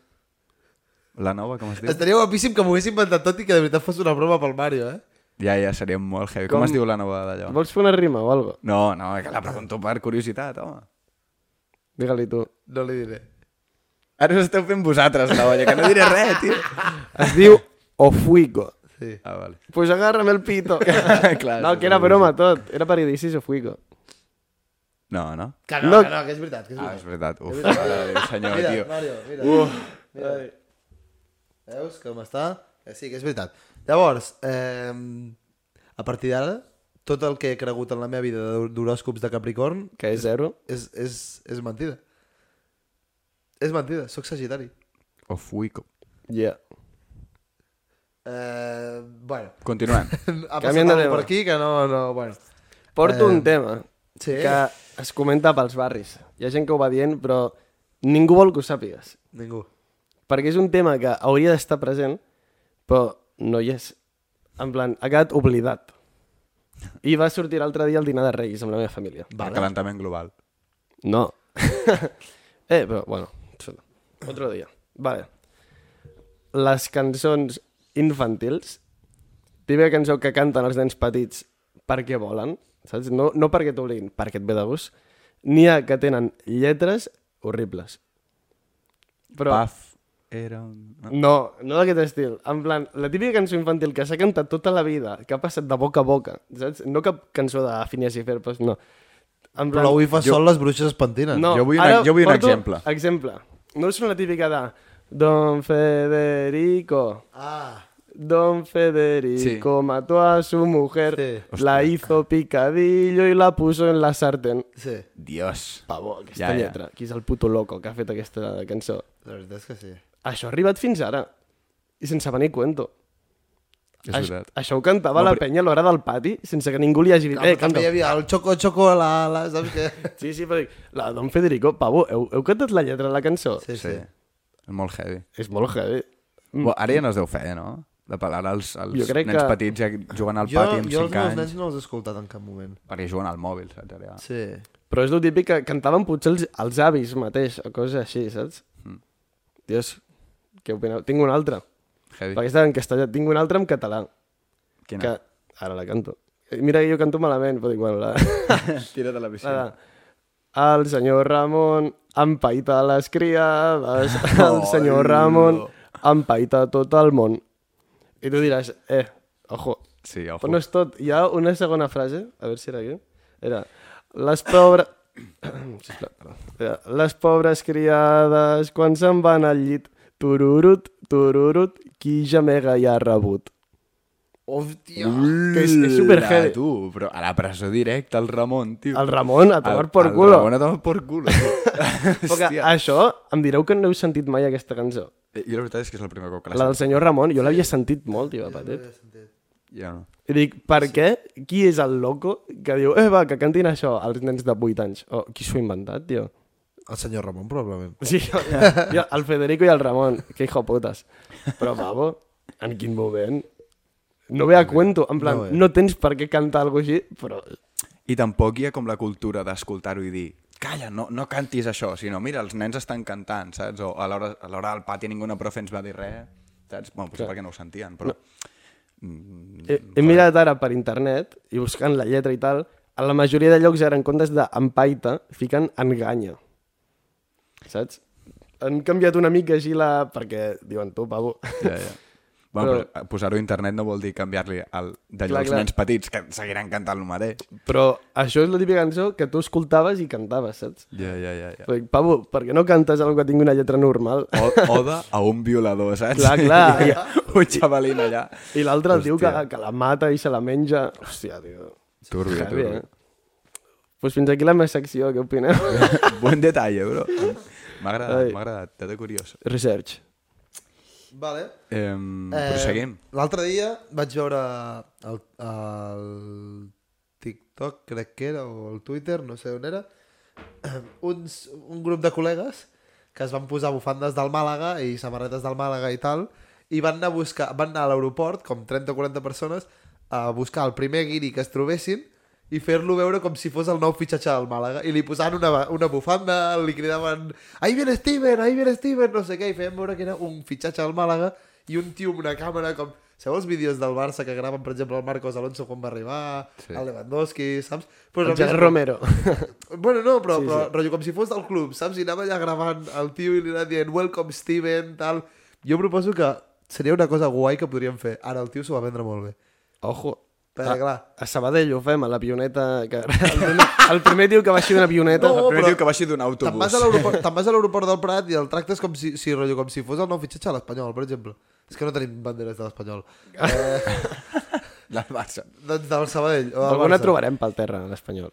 Speaker 5: La nova com es diu?
Speaker 4: Estaria guapíssim que m'ho hagués inventat tot i que de veritat fos una broma pel Mario, eh?
Speaker 5: Ja, ja, seria molt heavy. Com,
Speaker 1: Com-
Speaker 5: es diu la nova d'allò?
Speaker 1: Vols fer una rima o algo?
Speaker 5: No, no, que la pregunto per curiositat, home.
Speaker 1: Digue-li tu.
Speaker 4: No li diré.
Speaker 5: Ara us esteu fent vosaltres, la olla, que no diré res, tio.
Speaker 1: Es diu Ofuico.
Speaker 4: Sí.
Speaker 5: Ah, vale.
Speaker 1: Pues agárrame el pito.
Speaker 5: Clar,
Speaker 1: no, que era broma tot. Era per Idicis Ofuico.
Speaker 5: No, no.
Speaker 4: Que
Speaker 1: No.
Speaker 4: no, que no, que és veritat, que és
Speaker 5: Ah,
Speaker 4: veritat.
Speaker 5: és veritat. Uf, mare de Déu, senyor,
Speaker 4: mira,
Speaker 5: tio.
Speaker 4: Mario, mira. Uh. mira. Veus com està? Eh, Sí, que és veritat. Llavors, eh, a partir d'ara, tot el que he cregut en la meva vida d'hor- d'horòscops de Capricorn
Speaker 1: Que és zero.
Speaker 4: és, és, és mentida. És mentida, sóc sagitari.
Speaker 5: O fuico.
Speaker 1: Yeah.
Speaker 4: Eh, bueno,
Speaker 5: Continuem.
Speaker 4: ha passat
Speaker 1: Canviant de
Speaker 4: alguna
Speaker 1: tema.
Speaker 4: per aquí que no... no bueno.
Speaker 1: Porto un tema
Speaker 4: sí.
Speaker 1: que es comenta pels barris. Hi ha gent que ho va dient, però ningú vol que ho sàpigues.
Speaker 4: Ningú.
Speaker 1: Perquè és un tema que hauria d'estar present, però no hi és. En plan, ha quedat oblidat. I va sortir l'altre dia al dinar de Reis amb la meva família.
Speaker 5: Vale. Calentament global.
Speaker 1: No. eh, però, bueno, això no. otro dia. Vale. Les cançons infantils, típica cançó que canten els nens petits perquè volen, saps? No, no perquè t'obliguin, perquè et ve de gust. N'hi ha que tenen lletres horribles. Però...
Speaker 5: Paf era un... no.
Speaker 1: No, no d'aquest estil. En plan, la típica cançó infantil que s'ha cantat tota la vida, que ha passat de boca a boca, saps? No cap cançó de Phineas i Ferb, no. En
Speaker 4: Però avui fa jo... sol les bruixes es pentinen.
Speaker 1: no,
Speaker 5: Jo vull un-
Speaker 1: ara
Speaker 5: jo vull un
Speaker 1: porto
Speaker 5: exemple.
Speaker 1: Exemple. No és una típica de Don Federico,
Speaker 4: Ah,
Speaker 1: Don Federico mató a su mujer,
Speaker 4: Sí.
Speaker 1: la hizo picadillo y la puso en la sartén.
Speaker 4: sí.
Speaker 5: Dios.
Speaker 1: Pavó, aquesta
Speaker 5: Ja, ja.
Speaker 1: lletra. Qui és el puto loco que ha fet aquesta cançó?
Speaker 4: La veritat és que sí.
Speaker 1: Això ha arribat fins ara. I sense venir cuento.
Speaker 5: És
Speaker 1: Aix-
Speaker 5: veritat.
Speaker 1: Això ho cantava
Speaker 5: No,
Speaker 1: la
Speaker 5: però-
Speaker 1: penya a l'hora del pati, sense que ningú li hagi dit,
Speaker 4: Ah, eh,
Speaker 1: eh, canta.
Speaker 4: també hi havia el xoco xoco a la, la saps què?
Speaker 1: Sí, sí, però dic, la Don Federico, pavo, heu, heu cantat la lletra de la cançó?
Speaker 4: Sí, sí.
Speaker 5: Sí. És molt heavy.
Speaker 1: És molt heavy.
Speaker 5: Mm. Ara ja no es deu fer, no? de pelar els, els
Speaker 1: Jo crec
Speaker 5: nens
Speaker 1: que-
Speaker 5: petits ja jugant al
Speaker 4: jo,
Speaker 5: pati amb
Speaker 4: jo
Speaker 5: 5
Speaker 4: els meus
Speaker 5: anys. Ah.
Speaker 4: nens no els he escoltat en cap moment.
Speaker 5: Perquè juguen al mòbil, saps? Allà.
Speaker 4: Sí.
Speaker 1: Però és el típic que cantaven potser els, els avis mateix, o coses així, saps? Mm. Dios, què opineu? Tinc una altra.
Speaker 5: Heavy.
Speaker 1: Perquè estava en castellà. Tinc una altra en català.
Speaker 5: Quina?
Speaker 1: Que ara la canto. Eh, Mira que jo canto malament, però dic, bueno, la...
Speaker 5: Tira't a la
Speaker 1: la, la. El senyor Ramon empaita les criades. El senyor Ramon empaita tot el món. I tu diràs, eh, ojo,
Speaker 5: Sí, ojo.
Speaker 1: Però no és tot. Hi ha una segona frase, a veure si era aquí. Era, les pobres... Sisplau, perdó. Era, les pobres criades, quan se'n van al llit, tururut, tururut, qui gemega ja ha rebut.
Speaker 4: Hòstia.
Speaker 1: Que és- és superheavy.
Speaker 5: Tu, però a la presó directa, el Ramon, tio.
Speaker 1: El Ramon, a tomar
Speaker 5: El-
Speaker 1: por
Speaker 5: el
Speaker 1: culo.
Speaker 5: Ramon a tomar por culo. tio.
Speaker 1: Però que,
Speaker 5: Hòstia. Eh,
Speaker 1: això, em direu que no heu sentit mai aquesta cançó.
Speaker 5: Jo la veritat és que és el primer cop que la
Speaker 1: La del
Speaker 5: sento.
Speaker 1: senyor Ramon, jo l'havia sentit molt, tio, de petit.
Speaker 5: Jo no.
Speaker 1: I dic, per què? Qui és el loco que diu, eh, va, que cantin això als nens de 8 anys? O, qui s'ho ha inventat, tio?
Speaker 4: El senyor Ramon, probablement.
Speaker 1: Sí, jo, jo, el Federico i el Ramon, que hijo putes. Però, pavo, en quin moment? No ve a cuento, en plan,
Speaker 4: No
Speaker 1: no,
Speaker 4: ve.
Speaker 1: tens per què cantar alguna així, però...
Speaker 5: I tampoc hi ha com la cultura d'escoltar-ho i dir calla, no, no cantis això, sinó mira, els nens estan cantant, saps? O a l'hora a l'hora del pati ningú una profe ens va dir res, saps? Bueno, potser perquè no ho sentien, però...
Speaker 1: He, he mirat ara per internet i buscant la lletra i tal, a la majoria de llocs ara en comptes d'empaita fiquen enganya. Saps? Han canviat una mica així la... perquè diuen tu, pavo...
Speaker 5: Ja, ja. Bueno,
Speaker 1: Però-
Speaker 5: però... però posar-ho a internet no vol dir canviar-li el... de
Speaker 1: Clar,
Speaker 5: llocs
Speaker 1: clar.
Speaker 5: nens petits, que seguiran cantant el mateix.
Speaker 1: Però això és la típica cançó que tu escoltaves i cantaves, saps?
Speaker 5: Ja, ja, ja. ja.
Speaker 1: Dic, Pavo, per què no cantes alguna que tingui una lletra normal?
Speaker 5: O, oda a un violador, saps?
Speaker 1: Clar, clar.
Speaker 5: Hi ha un xavalín allà.
Speaker 1: I l'altre diu que,
Speaker 5: Hòstia.
Speaker 1: que la mata i se la menja. Hòstia, tio.
Speaker 5: Turbi,
Speaker 1: Heavy,
Speaker 5: turbi.
Speaker 1: eh? Pues fins aquí la meva secció, què opineu?
Speaker 5: Buen detall, bro. M'ha agradat,
Speaker 1: Ai.
Speaker 5: m'ha agradat. T'ha de curiós.
Speaker 1: Research.
Speaker 4: Vale.
Speaker 5: Eh, Proseguim.
Speaker 4: L'altre dia vaig veure el, el TikTok, crec que era, o el Twitter, no sé on era, uns, un grup de col·legues que es van posar bufandes del Màlaga i samarretes del Màlaga i tal, i van anar a buscar, van anar a l'aeroport, com 30 o 40 persones, a buscar el primer guiri que es trobessin i fer-lo veure com si fos el nou fitxatge del Màlaga. I li posaven una, una bufanda, li cridaven «Ahí viene Steven, ahí viene Steven!» no sé què, i feien veure que era un fitxatge del Màlaga i un tio amb una càmera com... Sabeu els vídeos del Barça que graven, per exemple, el Marcos Alonso quan va arribar, sí. el Lewandowski, saps? Pues
Speaker 1: El Gerard Romero.
Speaker 4: Bueno, no, però, sí, però rotllo, com si fos del club, saps? I anava allà gravant el tio i li anava dient Welcome Steven, tal... Jo proposo que seria una cosa guai que podríem fer. Ara, el tio s'ho va vendre molt bé.
Speaker 1: Ojo.
Speaker 4: Però, clar...
Speaker 1: A Sabadell ho fem, a l'avioneta... Que... El, primer, el primer diu que va així una avioneta.
Speaker 5: El
Speaker 4: No,
Speaker 5: primer
Speaker 4: però-
Speaker 5: diu que baixi d'un
Speaker 4: Te'n vas,
Speaker 5: autobús.
Speaker 4: a l'aeroport- te'n vas a l'aeroport del Prat i el tractes com si, si, rotllo, com si fos el nou fitxatge a l'Espanyol, per exemple. És que no tenim banderes de l'Espanyol. Eh,
Speaker 5: Del Barça.
Speaker 4: doncs del Sabadell. O del
Speaker 1: Alguna
Speaker 4: Barça.
Speaker 1: trobarem pel terra, a l'espanyol.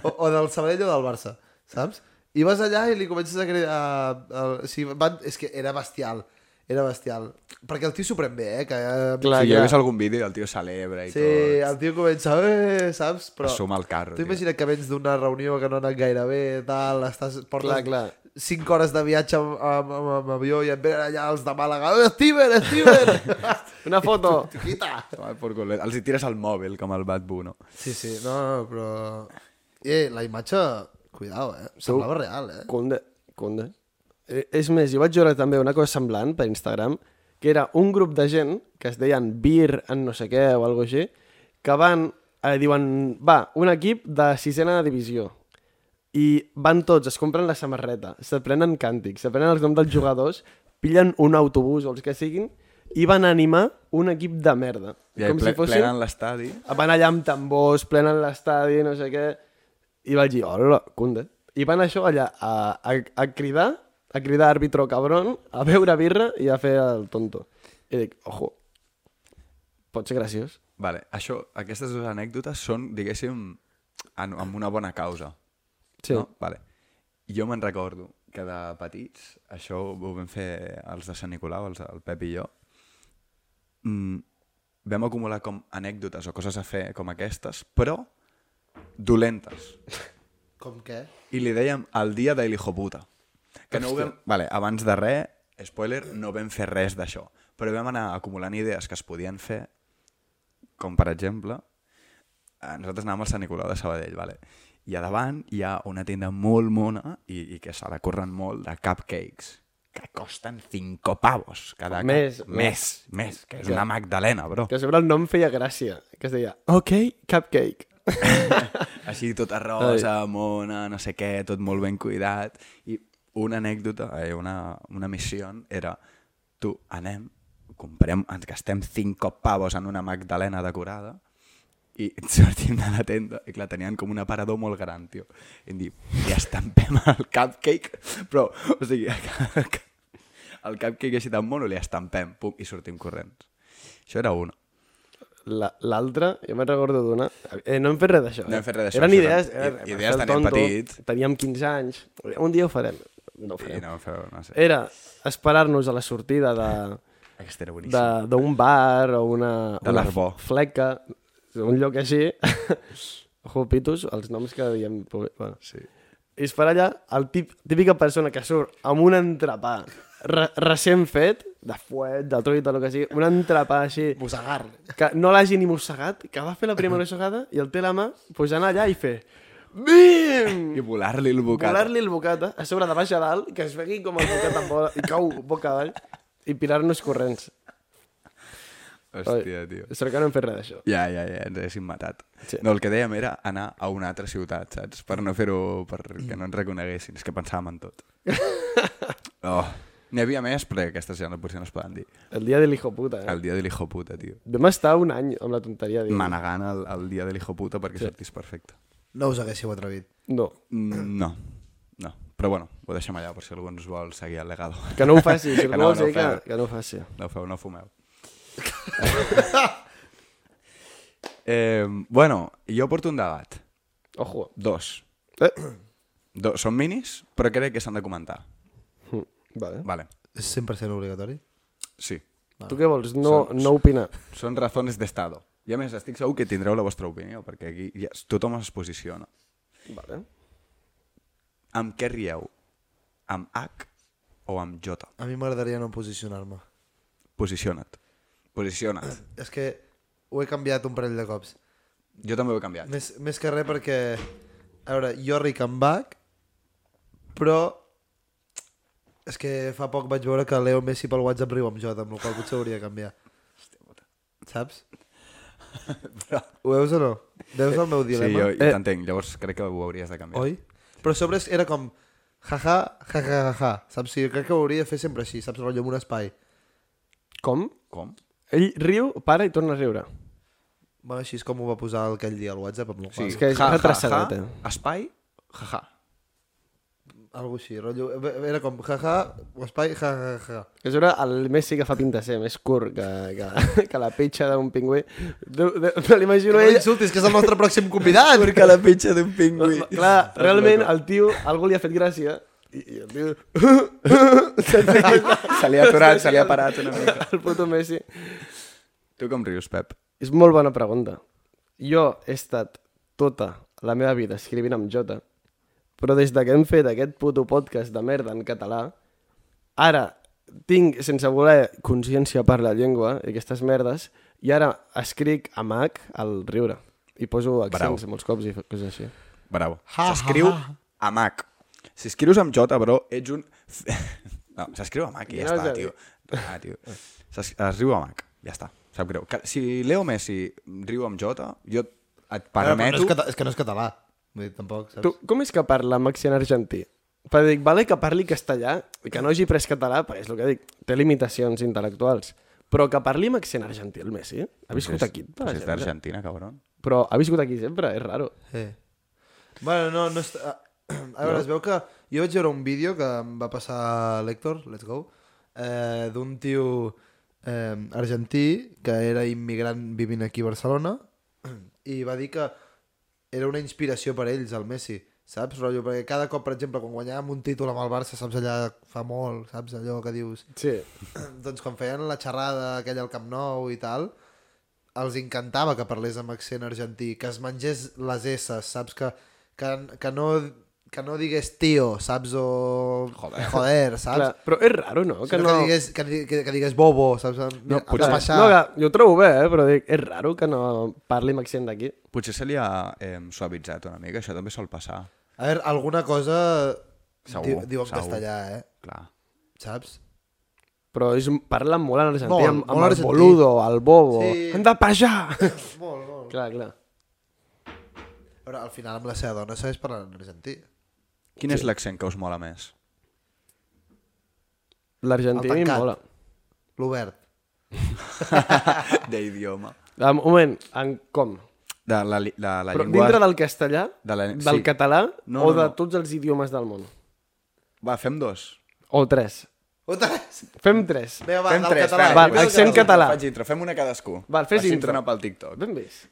Speaker 4: o, o del Sabadell o del Barça, saps? I vas allà i li comences a cridar... A, a, si van, és que era bestial, era bestial. Perquè el tio s'ho pren bé, eh? Que, eh,
Speaker 1: Clar, clar.
Speaker 5: si jo he vist algun vídeo i el tio celebra i
Speaker 4: sí,
Speaker 5: tot.
Speaker 4: el tio comença, eh, saps? Però...
Speaker 5: Assuma el carro,
Speaker 4: Tu
Speaker 5: tio.
Speaker 4: imagina que vens d'una reunió que no ha anat gaire bé, tal, estàs, portes
Speaker 1: Clar, clar.
Speaker 4: 5 hores de viatge amb, amb, amb, amb avió i et venen allà els de Màlaga, eh, Steven, Steven!
Speaker 1: Una foto!
Speaker 4: Quita!
Speaker 5: Toma Por culo. Els hi tires al mòbil, com el Bad Boo, no?
Speaker 4: Sí, sí, no, no, però... Eh, la imatge, cuidao, eh? Semblava real, eh?
Speaker 1: Conde. Conde. Eh, és més, jo vaig veure també una cosa semblant per Instagram, que era un grup de gent que es deien Beer en no sé què o alguna així, que van, eh, diuen, va, un equip de sisena divisió. I van tots, es compren la samarreta, s'aprenen càntics, s'aprenen els noms dels jugadors, pillen un autobús o els que siguin, i van animar un equip de merda.
Speaker 5: I com ple, si fossin... plenen l'estadi.
Speaker 1: Van allà amb tambors, plenen l'estadi, no sé què... I vaig dir, hola, cunde. I van això allà a, a, a cridar, a cridar àrbitro cabron, a beure birra i a fer el tonto. I dic, ojo, pot ser graciós.
Speaker 5: Vale, això, aquestes dues anècdotes són, diguéssim, en, amb una bona causa.
Speaker 1: Sí.
Speaker 5: No? Vale. Jo me'n recordo que de petits, això ho vam fer els de Sant Nicolau, els, el Pep i jo, mm, vam acumular com anècdotes o coses a fer com aquestes, però dolentes.
Speaker 4: Com què?
Speaker 5: I li dèiem el dia del hijo puta. Que no ho vam... Vale, abans de res, Spoiler, no vam fer res d'això, però vam anar acumulant idees que es podien fer, com per exemple, eh, nosaltres anàvem al Sant Nicolau de Sabadell, vale? i a davant hi ha una tienda molt mona i, i que se la corren molt de cupcakes, que costen 5 pavos cada cup.
Speaker 1: Més,
Speaker 5: més, més, que és una magdalena, bro.
Speaker 1: Que a sobre el nom feia gràcia, que es deia OK Cupcake.
Speaker 5: Així tota rosa, mona, no sé què, tot molt ben cuidat. I una anècdota, eh, una, una missió era, tu, anem, comprem, ens gastem 5 pavos en una magdalena decorada i sortim de la tenda i clar, tenien com un aparador molt gran, tio. I em diu, i estampem el cupcake, però, o sigui, el cupcake així tan mono li estampem, pum, i sortim corrents. Això era una.
Speaker 1: La- L'altra, jo me'n recordo d'una... Eh, no hem fet res d'això.
Speaker 5: No hem fet res d'això,
Speaker 1: Eren
Speaker 5: això
Speaker 1: idees...
Speaker 5: eren
Speaker 1: era-
Speaker 5: i-
Speaker 1: va
Speaker 5: idees
Speaker 1: ser el
Speaker 5: de nen
Speaker 1: tonto,
Speaker 5: petit.
Speaker 1: Teníem 15 anys. Un dia ho farem. No ho
Speaker 5: I
Speaker 1: farem.
Speaker 5: no, feu, no sé.
Speaker 1: Era esperar-nos a la sortida de
Speaker 5: Aquesta era boníssima.
Speaker 1: de- d'un bar o una,
Speaker 5: De
Speaker 1: una
Speaker 5: l'Arbó.
Speaker 1: fleca, un lloc així. Ojo, pitos, els noms que diem... Bueno.
Speaker 5: Sí.
Speaker 1: I és per allà el tip, típica persona que surt amb un entrepà re, recent fet, de fuet, de truita, el que sigui, un entrepà així...
Speaker 4: Mossegar.
Speaker 1: Que no l'hagi ni mossegat, que va fer la primera mossegada i el té a la mà, pues anar allà i fer... Bim!
Speaker 5: I volar-li el bocat.
Speaker 1: Volar-li el bocata, a sobre de baix a dalt, que es vegi com el bocata vola i cau boca avall i pirar-nos corrents.
Speaker 5: Hòstia, tio.
Speaker 1: Sort que no hem fet res d'això.
Speaker 5: Ja, ja, ja, ens haguéssim matat.
Speaker 1: Sí.
Speaker 5: Sí. No, el que dèiem era anar a una altra ciutat, saps? Per no fer-ho, perquè no ens reconeguessin. És que pensàvem en tot. Oh. N'hi havia més, però aquestes ja no, potser no es poden dir.
Speaker 1: El dia de l'hijo puta, eh?
Speaker 5: El dia de l'hijo puta, tio.
Speaker 1: Vam estar un any amb la tonteria. Diu.
Speaker 5: Manegant el, el dia de l'hijo puta perquè sí. sortís perfecte.
Speaker 4: No us haguéssiu atrevit.
Speaker 1: No,
Speaker 5: Mm, No, no. Però bueno, ho deixem allà per si algú ens vol seguir el legado.
Speaker 1: que no ho faci, si
Speaker 5: Que
Speaker 1: no, no,
Speaker 5: no, no ho
Speaker 1: no que,
Speaker 5: feu.
Speaker 1: que no ho faci.
Speaker 5: No feu, no fumeu. eh, bueno, jo porto un debat.
Speaker 1: Ojo.
Speaker 5: Dos.
Speaker 1: Eh?
Speaker 5: Do, són minis, però crec que s'han de comentar.
Speaker 1: Hm, Vale.
Speaker 5: Vale,
Speaker 4: És 100% obligatori?
Speaker 5: sí.
Speaker 1: Tu què vols? No, no opinar.
Speaker 5: Són razones d'estado. I a més, estic segur que tindreu la vostra opinió, perquè aquí ja, tothom es posiciona.
Speaker 1: Vale.
Speaker 5: Amb què rieu? Amb H o amb J?
Speaker 4: A mi m'agradaria no posicionar-me.
Speaker 5: Posiciona't. Posiciona't.
Speaker 4: És que ho he canviat un parell de cops.
Speaker 5: Jo també ho he canviat.
Speaker 4: Més, més que res perquè... A veure, jo ric en Bach, però és que fa poc vaig veure que Leo Messi pel WhatsApp riu amb Jota, amb la qual cosa potser hauria de canviar. Saps?
Speaker 5: Però...
Speaker 4: Ho veus o no? Veus el meu
Speaker 5: Sí,
Speaker 4: dilema?
Speaker 5: jo, jo
Speaker 1: Eh.
Speaker 5: t'entenc. Llavors crec que ho hauries de canviar.
Speaker 4: Oi? Però a sobre és- era com jaja, ja, ja, ja, ja, saps? Sí, crec que ho hauria de fer sempre així, saps? Rotllo amb un espai.
Speaker 1: Com?
Speaker 5: Com?
Speaker 1: Ell riu, para i torna a riure.
Speaker 4: Bueno, així és com ho va posar aquell dia al WhatsApp, amb la qual
Speaker 1: és que és retrasadet, eh?
Speaker 5: espai, jaja.
Speaker 4: Algo així, rotllo... Era com jaja, ja, espai, ja, ja, ja.
Speaker 1: Que és veure el Messi que fa pinta ser més curt que, que, que la petxa d'un pingüí. De, de, me l'imagino
Speaker 4: No
Speaker 1: ell...
Speaker 4: insultis, que és el nostre pròxim convidat!
Speaker 5: Perquè la pitxa d'un pingüí.
Speaker 1: Clar, realment, el tio, algú li ha fet gràcia i, i el tio...
Speaker 5: Se li ha aturat, se li ha parat una mica.
Speaker 1: el puto Messi.
Speaker 5: Tu com rius, Pep?
Speaker 1: És molt bona pregunta. Jo he estat tota la meva vida escrivint amb Jota, però des de que hem fet aquest puto podcast de merda en català, ara tinc, sense voler, consciència per la llengua i aquestes merdes, i ara escric a Mac al riure. I poso accents
Speaker 5: Bravo.
Speaker 1: molts cops i fa- coses així.
Speaker 5: Bravo. S'escriu a Mac. Si escrius amb J, bro, ets un... No, s'escriu a Mac i ja
Speaker 1: No,
Speaker 5: està,
Speaker 1: ja-
Speaker 5: tio. Ah, tio. S'es- Es riu a Mac, ja està. Sap greu. Que- Si Leo Messi riu amb J, jo et
Speaker 4: Ara, però No
Speaker 5: permeto...
Speaker 4: és, cata- és que no és català. Vull dir, tampoc, saps?
Speaker 1: Tu, com és que parla Maxi en argentí? Perquè dic, vale que parli castellà i que no hagi pres català, perquè és el que dic, té limitacions intel·lectuals. Però que parli amb accent argentí, el Messi, ha viscut aquí. per
Speaker 5: Però si és
Speaker 1: exemple.
Speaker 5: d'Argentina, cabron.
Speaker 1: Però ha viscut aquí sempre, és raro.
Speaker 4: Sí. Bueno, no, no està... A veure, es veu que... Jo vaig veure un vídeo que em va passar l'Hector, let's go, eh, d'un tio eh, argentí que era immigrant vivint aquí a Barcelona i va dir que era una inspiració per ells, el Messi, saps? Rotllo, perquè cada cop, per exemple, quan guanyàvem un títol amb el Barça, saps, allà fa molt, saps, allò que dius
Speaker 1: Sí.
Speaker 4: doncs quan feien la xerrada aquella al Camp Nou i tal, els encantava que parlés amb accent argentí, que es mengés les S, saps? Que, que, que no que no digués tio, saps? O... Joder. Joder, saps?
Speaker 1: Clar,
Speaker 4: Clar,
Speaker 1: però és raro, no? Que
Speaker 4: que, no...
Speaker 1: no...
Speaker 4: que, digués, que, di- que, que digués bobo, saps? Mira, ha de
Speaker 5: potser-
Speaker 4: baixar.
Speaker 1: No, que jo ho trobo bé, eh? però dic, és raro que no parli amb accent d'aquí.
Speaker 5: Potser se li ha eh, suavitzat una mica, això també sol passar.
Speaker 4: A veure, alguna cosa
Speaker 5: Segur,
Speaker 4: di, diu en
Speaker 5: segur.
Speaker 4: castellà, eh?
Speaker 5: Clar.
Speaker 4: Saps?
Speaker 1: Però ells parlen molt en argentí,
Speaker 4: Molt,
Speaker 1: amb, amb
Speaker 4: molt
Speaker 1: el
Speaker 4: argentí.
Speaker 1: boludo, el bobo.
Speaker 4: Sí.
Speaker 1: Hem de pejar!
Speaker 4: Molt, molt.
Speaker 1: clar, clar.
Speaker 4: Però al final amb la seva dona sabés parlar en argentí.
Speaker 5: Quin és l'accent que us mola més?
Speaker 1: L'argentí
Speaker 4: El
Speaker 1: a mi em
Speaker 4: tancat.
Speaker 1: mola.
Speaker 4: L'Obert.
Speaker 5: D'idioma.
Speaker 1: De Ah, moment, en com?
Speaker 5: De la, li- de la
Speaker 1: Però
Speaker 5: llengua...
Speaker 1: dintre del castellà,
Speaker 5: de la-
Speaker 1: del
Speaker 5: sí.
Speaker 1: català
Speaker 5: No,
Speaker 1: o
Speaker 5: no,
Speaker 1: de
Speaker 5: no.
Speaker 1: tots els idiomes del món?
Speaker 5: Va, fem dos.
Speaker 1: O tres.
Speaker 4: Otres!
Speaker 1: Fem tres.
Speaker 4: Vinga, va,
Speaker 5: fem
Speaker 4: del català.
Speaker 1: va,
Speaker 4: Primer del
Speaker 1: accent
Speaker 4: català.
Speaker 1: català.
Speaker 5: Faig intro, fem una cadascú.
Speaker 1: Val, fes
Speaker 5: Així ens
Speaker 1: intro.
Speaker 5: anar pel TikTok.
Speaker 1: Ben vist.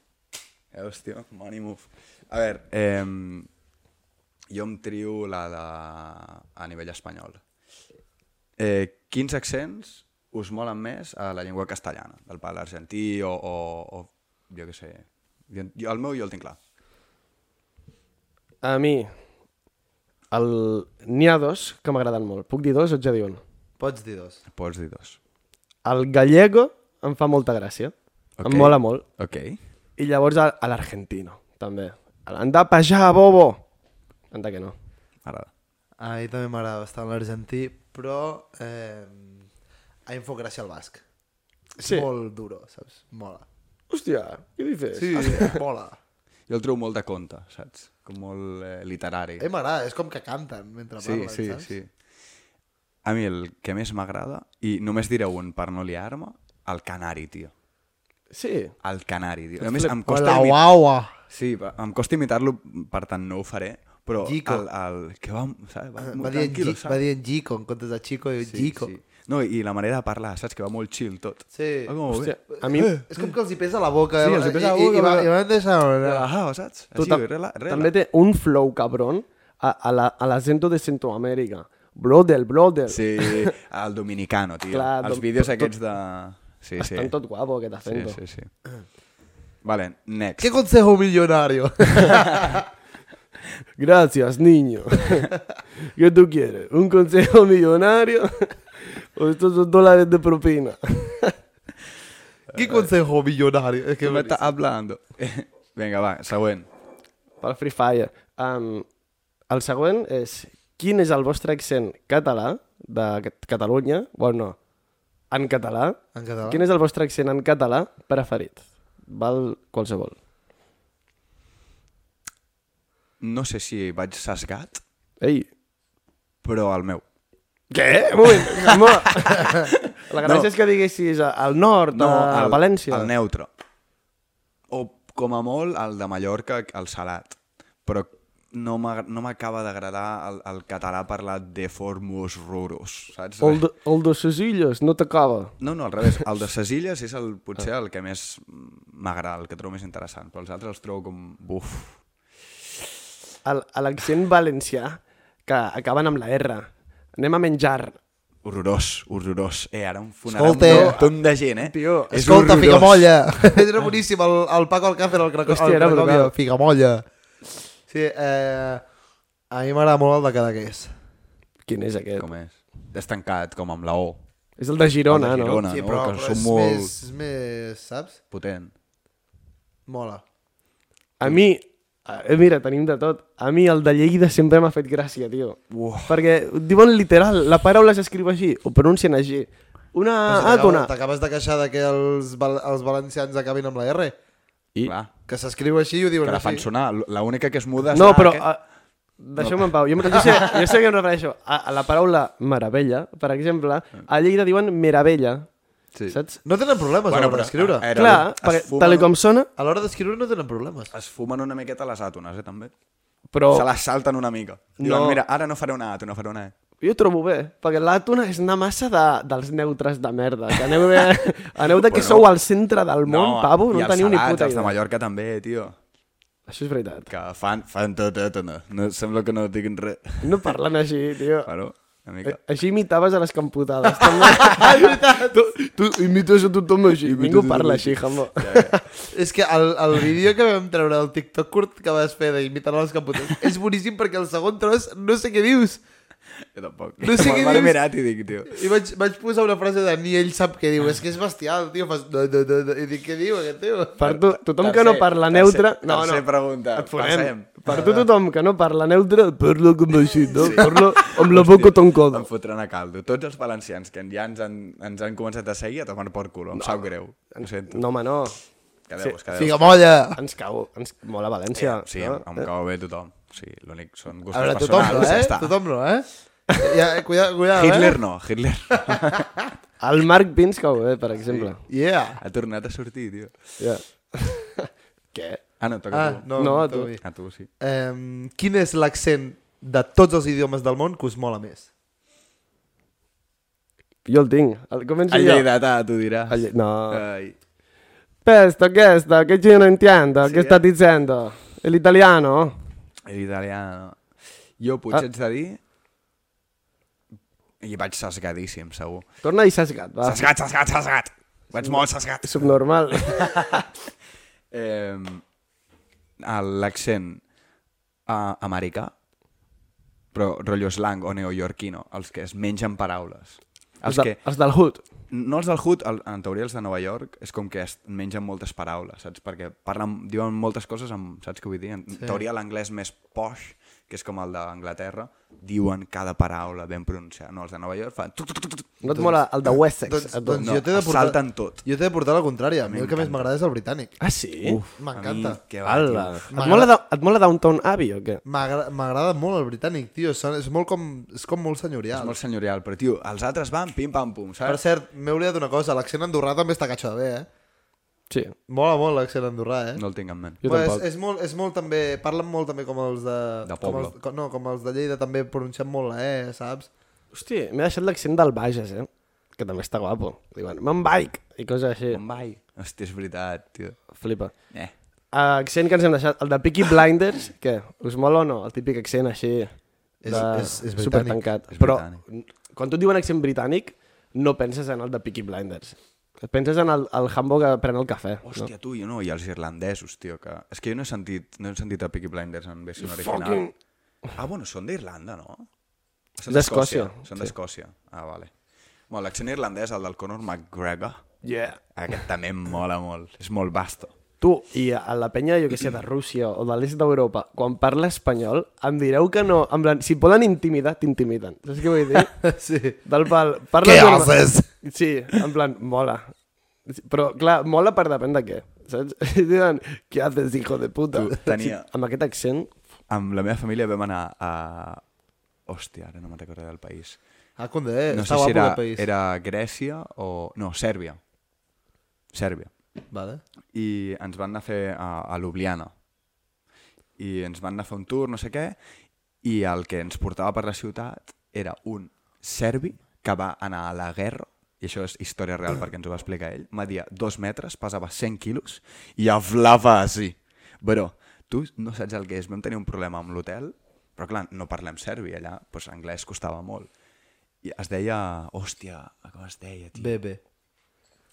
Speaker 5: Eh, hòstia, money move. A veure, eh, jo em trio la de... a nivell espanyol. Eh, quins accents us molen més a la llengua castellana? Del pal argentí o, o, o jo què sé... Jo, jo, el meu jo el tinc clar.
Speaker 1: A mi, el... n'hi ha dos que m'agraden molt. Puc dir dos o et ja dir un?
Speaker 4: Pots dir dos.
Speaker 5: Pots dir dos.
Speaker 1: El gallego em fa molta gràcia.
Speaker 5: Ok.
Speaker 1: Em mola molt.
Speaker 5: Ok.
Speaker 1: I llavors a a l'argentino, també. Han de pejar, bobo! Anda que no.
Speaker 5: M'agrada.
Speaker 4: A mi també m'agrada bastant l'argentí, però eh, a mi em fot gràcia el basc. És
Speaker 1: Sí.
Speaker 4: molt duro, saps? Mola.
Speaker 1: Hòstia, què dices?
Speaker 4: Sí, mola.
Speaker 5: Jo el trobo molt de conte, saps? Com molt eh, literari.
Speaker 4: A mi m'agrada, és com que canten mentre
Speaker 5: Sí,
Speaker 4: parlen,
Speaker 5: sí,
Speaker 4: saps?
Speaker 5: sí. A mi el que més m'agrada, i només diré un per no liar-me, el canari, tio.
Speaker 1: Sí.
Speaker 5: El canari, tio. A més, em
Speaker 4: O
Speaker 5: costa,
Speaker 4: la
Speaker 5: imi...
Speaker 4: uaua.
Speaker 5: sí, va- em costa imitar-lo, per tant no ho faré, però
Speaker 4: Gico.
Speaker 5: el, el, que va, saps? va,
Speaker 4: Va
Speaker 5: molt
Speaker 4: dir, en
Speaker 5: tranquil,
Speaker 4: Gi- va dir en Gico, en comptes de Chico, diu Gico.
Speaker 5: Sí. No, i la manera de parlar, saps? Que va molt chill tot.
Speaker 4: Sí.
Speaker 5: Va com,
Speaker 1: Hòstia,
Speaker 5: Hòstia.
Speaker 1: a mi...
Speaker 4: És com que els hi pesa la boca.
Speaker 5: Sí,
Speaker 4: eh?
Speaker 5: els hi pesa la
Speaker 4: I- i-
Speaker 5: boca,
Speaker 4: I, va,
Speaker 5: però-
Speaker 4: i van deixar...
Speaker 5: Relajado, saps?
Speaker 1: Tu
Speaker 5: Així,
Speaker 1: ta-
Speaker 5: rela, rela.
Speaker 1: Tota- També té un flow cabron a, a la- a l'acento de Centroamèrica. Brother, brother.
Speaker 5: Sí, el dominicano, tio.
Speaker 1: Clar,
Speaker 5: Els
Speaker 1: dom-
Speaker 5: vídeos
Speaker 1: tot-
Speaker 5: aquests de... Sí, sí.
Speaker 1: Estan tot guapo, aquest
Speaker 5: Sí,
Speaker 1: acento.
Speaker 5: sí, sí. Vale, next.
Speaker 4: ¿Qué consejo millonario?
Speaker 1: Gracias, niño. ¿Qué tú quieres? ¿Un consejo millonario? ¿O estos son dólares de propina?
Speaker 4: ¿Qué consejo millonario? Es
Speaker 5: ¿Qué
Speaker 4: que
Speaker 5: Eh, me está hablando? Vinga, va, següent.
Speaker 1: Pel Free Fire. Um, el següent és... Quin és el vostre accent català de Cat- Catalunya? Bueno, no. En català.
Speaker 4: En català.
Speaker 1: Quin és el vostre accent en català preferit? Val qualsevol.
Speaker 5: No sé si vaig sesgat,
Speaker 1: Ei,
Speaker 5: però el meu.
Speaker 1: Què? Un moment. Un moment. La gràcia
Speaker 5: No.
Speaker 1: no. és que diguessis al nord, no, a, a
Speaker 5: el,
Speaker 1: València.
Speaker 5: El neutre. O, com a molt, el de Mallorca, el salat. Però no m'ag- no m'acaba d'agradar el, el català parlat de formus rurus, saps?
Speaker 1: O el, de, o el de ses illes, no t'acaba.
Speaker 5: No, no, al revés. El de ses illes és el,
Speaker 1: Ah.
Speaker 5: potser el que més m'agrada, el que trobo més interessant, però els altres els trobo com... Buf.
Speaker 1: El- a L'accent valencià, que acaben amb la R. Anem a menjar.
Speaker 5: Horrorós, horrorós. Eh, ara un funeral
Speaker 4: Escolta.
Speaker 5: Escolta, un munt de gent, eh?
Speaker 1: Tio,
Speaker 5: És
Speaker 4: Escolta,
Speaker 5: horrorós.
Speaker 4: Figamolla. Era boníssim el, el Paco Alcácer, el Cracòvia.
Speaker 1: Hòstia, era brutal.
Speaker 4: Figamolla. Sí, eh, a mi m'agrada molt el de Cadaqués.
Speaker 1: Quin és aquest?
Speaker 5: Com és? Destancat, com amb la O.
Speaker 1: És el de Girona,
Speaker 5: El de
Speaker 1: no?
Speaker 5: Girona. Ah,
Speaker 4: sí,
Speaker 5: no,
Speaker 4: però,
Speaker 5: que
Speaker 4: però
Speaker 5: són
Speaker 4: és,
Speaker 5: molt-
Speaker 4: més, és més, saps?
Speaker 5: Potent.
Speaker 4: Mola.
Speaker 1: A mi... Eh, mira, tenim de tot. A mi el de Lleida sempre m'ha fet gràcia, tio.
Speaker 5: Uah.
Speaker 1: Perquè ho diuen literal, la paraula s'escriu així, ho pronuncien així. Ah, Una
Speaker 4: Però si
Speaker 1: àtona.
Speaker 4: t'acabes- T'acabes de queixar de que els, val- els valencians acabin amb la R.
Speaker 5: I? Clar,
Speaker 4: Que s'escriu així i ho diuen
Speaker 5: que la fan
Speaker 4: així.
Speaker 5: sonar. L'única que es muda és
Speaker 1: No,
Speaker 5: la
Speaker 1: però...
Speaker 5: que-
Speaker 1: A... Deixeu-me en pau. Jo, jo, sé, jo sé que em refereixo a, a la paraula meravella, per exemple. A Lleida diuen meravella,
Speaker 5: Sí.
Speaker 1: saps?
Speaker 4: No tenen problemes a l'hora d'escriure.
Speaker 5: a- a-
Speaker 1: Clar, perquè
Speaker 5: fumen,
Speaker 1: tal i com sona,
Speaker 5: eh.
Speaker 4: A l'hora d'escriure no tenen problemes.
Speaker 5: Es fumen una miqueta les àtones, eh, també.
Speaker 1: però
Speaker 5: Se les salten una mica. Diuen,
Speaker 1: Oh. No.
Speaker 5: mira, ara no faré una àtona, faré una E.
Speaker 1: jo ho trobo bé, perquè l'àtona és una massa de, dels neutres de merda, que aneu, bé, aneu de que
Speaker 5: Bueno.
Speaker 1: sou al centre del món, pavo,
Speaker 5: i
Speaker 1: no
Speaker 5: els
Speaker 1: teniu ni
Speaker 5: salats,
Speaker 1: puta
Speaker 5: Els de
Speaker 1: idea.
Speaker 5: Mallorca també, tio.
Speaker 1: Això és veritat.
Speaker 5: eh, Que fan, fan tot, tot, no. no. Sembla que no diguin res.
Speaker 1: No parlen així, tio. Eh,
Speaker 5: Claro. Una mica.
Speaker 1: Així imitaves a les camputades, també. tu, tu imites a tothom així. Ningú parla així, jambo.
Speaker 4: És que el, el vídeo que vam treure del TikTok curt que vas fer d'imitant les caputes és boníssim perquè el segon tros no sé què dius.
Speaker 5: Jo tampoc.
Speaker 4: No sé
Speaker 5: Me'l
Speaker 4: què
Speaker 5: van
Speaker 4: dius.
Speaker 5: mirat i dic, tio.
Speaker 4: I vaig, vaig posar una frase de ni ell sap què diu. És que és bestial, tio. Fas... No, no, no, no. I dic, què diu aquest tio?
Speaker 1: Per tu, tothom que no parla neutre...
Speaker 5: Tercer, tercer pregunta.
Speaker 1: Et fotem.
Speaker 5: Passem.
Speaker 1: Per tu, tothom que no parla neutre, parla com així, no? Parla amb la boca tancada.
Speaker 5: Em fotran a caldo. Tots els valencians que ja ens han, ens han començat a seguir a tomar per culo. Em sap greu. Ho sento.
Speaker 1: No, home, no.
Speaker 5: Quedeu-vos, quedeu-vos.
Speaker 4: Figa molla!
Speaker 1: Ens cau, ens mola València.
Speaker 5: Eh, Sí, em,
Speaker 1: no?
Speaker 5: em cau bé tothom. Sí, l'únic són
Speaker 4: A
Speaker 5: gustos
Speaker 4: veure, tothom no,
Speaker 5: personals.
Speaker 4: eh?
Speaker 5: ja està.
Speaker 4: Tothom no, eh? Ja, eh, cuidado, cuidado,
Speaker 5: Hitler no, eh? Hitler no.
Speaker 1: El Marc Pins cau bé, per exemple.
Speaker 4: eh? Yeah.
Speaker 5: ha tornat a sortir, tio.
Speaker 1: Ja. Què?
Speaker 5: Ah, no, toca
Speaker 4: Ah,
Speaker 5: tu.
Speaker 4: no,
Speaker 1: No,
Speaker 4: no
Speaker 1: a
Speaker 4: tu.
Speaker 1: tu.
Speaker 5: A tu, sí.
Speaker 4: Um, quin és l'accent de tots els idiomes del món que us mola més?
Speaker 1: Jo el tinc. El, començo
Speaker 5: El Eh.
Speaker 1: jo.
Speaker 5: lleidatà, t'ho ah, diràs.
Speaker 1: El lle- no.
Speaker 5: Ai.
Speaker 1: Questo, questo, che io non intendo,
Speaker 5: eh.
Speaker 1: che sta dicendo? È l'italiano?
Speaker 5: L'italiano. Jo potser ah. ets de dir... I vaig sesgadíssim, segur.
Speaker 1: Torna i sesgat, va.
Speaker 5: Sesgat, sesgat, sesgat. Vaig molt sesgat.
Speaker 1: Subnormal.
Speaker 5: Eh, L'accent eh, americà, però rotllo slang o neoyorquino, els que es mengen paraules.
Speaker 1: els,
Speaker 5: Els
Speaker 1: de,
Speaker 5: que,
Speaker 1: els del Hood.
Speaker 5: no els del Hood, el, en teoria els de Nova York, és com que es mengen moltes paraules, saps? Perquè parlen, diuen moltes coses amb, saps què vull dir? En sí. teoria l'anglès més posh, que és com el d'Anglaterra, diuen cada paraula ben pronunciada. No, els de Nova York fan... Tuc, tuc, tuc, tuc.
Speaker 1: No et mola el de Wessex.
Speaker 4: Doncs,
Speaker 1: a tu?
Speaker 4: doncs
Speaker 5: No,
Speaker 4: jo t'he de
Speaker 5: es
Speaker 4: portar...
Speaker 5: salten tot.
Speaker 4: Jo t'he de portar la contrària. A mi el que més m'agrada és el britànic.
Speaker 1: Ah, sí? Uf,
Speaker 4: M'encanta.
Speaker 5: Que va,
Speaker 1: Ala.
Speaker 5: tio.
Speaker 1: Et mola, de, et mola Downton Abbey o què?
Speaker 4: M'agra- M'agrada molt el britànic, tio. Són- És, molt com, és com molt
Speaker 5: És
Speaker 4: senyorial.
Speaker 5: molt senyorial, però tio, els altres van pim-pam-pum,
Speaker 4: Per
Speaker 5: saps?
Speaker 4: cert, m'he oblidat una cosa. L'accent andorrà també està catxa de bé, eh?
Speaker 1: Sí.
Speaker 4: Mola molt l'accent andorrà, eh?
Speaker 5: No el tinc en ment.
Speaker 1: Jo
Speaker 4: Bueno,
Speaker 1: tampoc.
Speaker 4: és, és, molt, és molt també... Parlen molt també com els de...
Speaker 5: De
Speaker 4: com
Speaker 5: poble.
Speaker 4: els, com, no, com els de Lleida també pronunciem molt la E, saps?
Speaker 1: Hosti, m'he deixat l'accent del Bages, eh? Que també està guapo. Diuen, me'n vaig! I coses així.
Speaker 5: Bombay. Hòstia, és veritat, tio.
Speaker 1: Flipa.
Speaker 5: Eh.
Speaker 1: Ah, Accent que ens hem deixat. El de Peaky Blinders, què? Us mola o no? El típic accent així...
Speaker 4: És-
Speaker 1: De...
Speaker 4: és- és britànic.
Speaker 1: supertancat.
Speaker 5: És
Speaker 1: Però
Speaker 5: britànic.
Speaker 1: quan tu et diuen accent britànic, no penses en el de Peaky Blinders. Penses en el, el Hambo que pren el cafè.
Speaker 5: Hòstia, tu, jo no, i els irlandesos, tio, que... És que jo no he sentit, no he sentit a Peaky Blinders en versió original.
Speaker 1: fucking-
Speaker 5: Ah, bueno, són d'Irlanda, no? Són
Speaker 1: D'Escòcia,
Speaker 5: Són d'Escòcia. Ah, vale. Bueno, l'accent irlandès, el del Conor McGregor,
Speaker 1: Yeah.
Speaker 5: aquest també em mola molt. És molt vasto.
Speaker 1: Tu i a la penya, jo que sé, de Rússia o de l'est d'Europa, quan parla espanyol, em direu que no. En plan, si poden intimidar, t'intimiden. Saps què vull dir?
Speaker 4: Sí.
Speaker 1: Del pal, parla...
Speaker 4: Què
Speaker 1: normal.
Speaker 4: haces?
Speaker 1: Sí, en plan, mola. Però, clar, mola per depèn de què, saps? I diuen, què haces, hijo de puta?
Speaker 5: Tu, tenia-
Speaker 1: Sí, amb aquest accent,
Speaker 5: Amb la meva família vam anar a... Hòstia, ara no me'n recordo del país.
Speaker 4: Ah, Condé,
Speaker 5: No
Speaker 4: està
Speaker 5: sé si
Speaker 4: guapo
Speaker 5: era,
Speaker 4: el país.
Speaker 5: era Grècia o... No, Sèrbia. Sèrbia.
Speaker 4: Vale.
Speaker 5: i ens van anar a fer a, a Ljubljana. I ens van anar a fer un tour, no sé què, i el que ens portava per la ciutat era un serbi que va anar a la guerra, i això és història real perquè ens ho va explicar ell, media dos metres, pesava 100 quilos i aflava així. Però tu no saps el que és. Vam tenir un problema amb l'hotel, però clar, no parlem serbi allà, doncs anglès costava molt. I es deia... Hòstia, com es deia, tio?
Speaker 4: Bé, bé.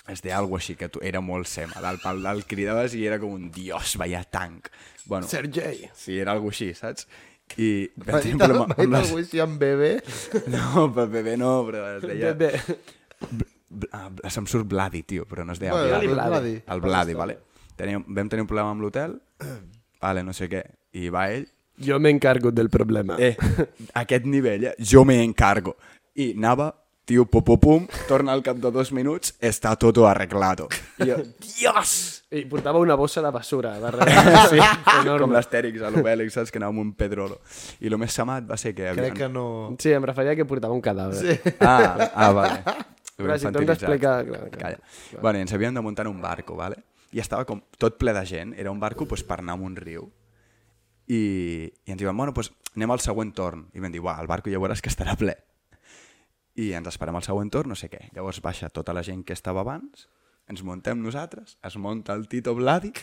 Speaker 5: es deia alguna així, que tu, era molt sema, del pal del cridaves i era com un dios, vaya tanc. Bueno,
Speaker 1: Sergei.
Speaker 5: sí, era alguna així, saps? I vam
Speaker 4: Mai
Speaker 5: tenir un
Speaker 4: tal-
Speaker 5: problema
Speaker 4: mai
Speaker 5: amb les...
Speaker 4: algú així amb bebè.
Speaker 5: No, per bebé no, però es deia...
Speaker 1: Bé, bé.
Speaker 5: Bl- ah, bl- Se'm surt Bladi, tio, però no es deia
Speaker 4: Bueno,
Speaker 5: Bladi.
Speaker 1: el Bladi.
Speaker 5: El Bladi, vale? Teníem, vam tenir un problema amb l'hotel, vale, no sé què, i va ell,
Speaker 1: Jo m'encargo del problema.
Speaker 5: eh, a aquest nivell, eh, jo me encargo. I anava, tio, pum, pum, pum, torna al cap de dos minuts, està tot arreglado. I jo, dios!
Speaker 1: I portava una bossa de basura darrere. Sí,
Speaker 5: com
Speaker 1: enorme.
Speaker 5: l'Astèrix a l'Obèlix, saps? Que anava amb un pedrolo. I el més samat va ser que... havien-
Speaker 4: Crec que no...
Speaker 1: Sí, em referia que portava un cadàver. Sí.
Speaker 5: Ah, ah, vale. Ho
Speaker 1: Clar, si t'ho hem
Speaker 5: infantilitzat.
Speaker 1: d'explicar, clar, clar.
Speaker 5: Calla. Bueno, i ens havíem de muntar en un barco, vale? I estava com tot ple de gent. Era un barco pues, per anar a un riu. I, i ens diuen, bueno, pues, anem al següent torn. I vam dir, uah, el barco ja veuràs que estarà ple. I ens esperem al següent torn, no sé què. Llavors baixa tota la gent que estava abans, ens muntem nosaltres, es munta el Tito Bladi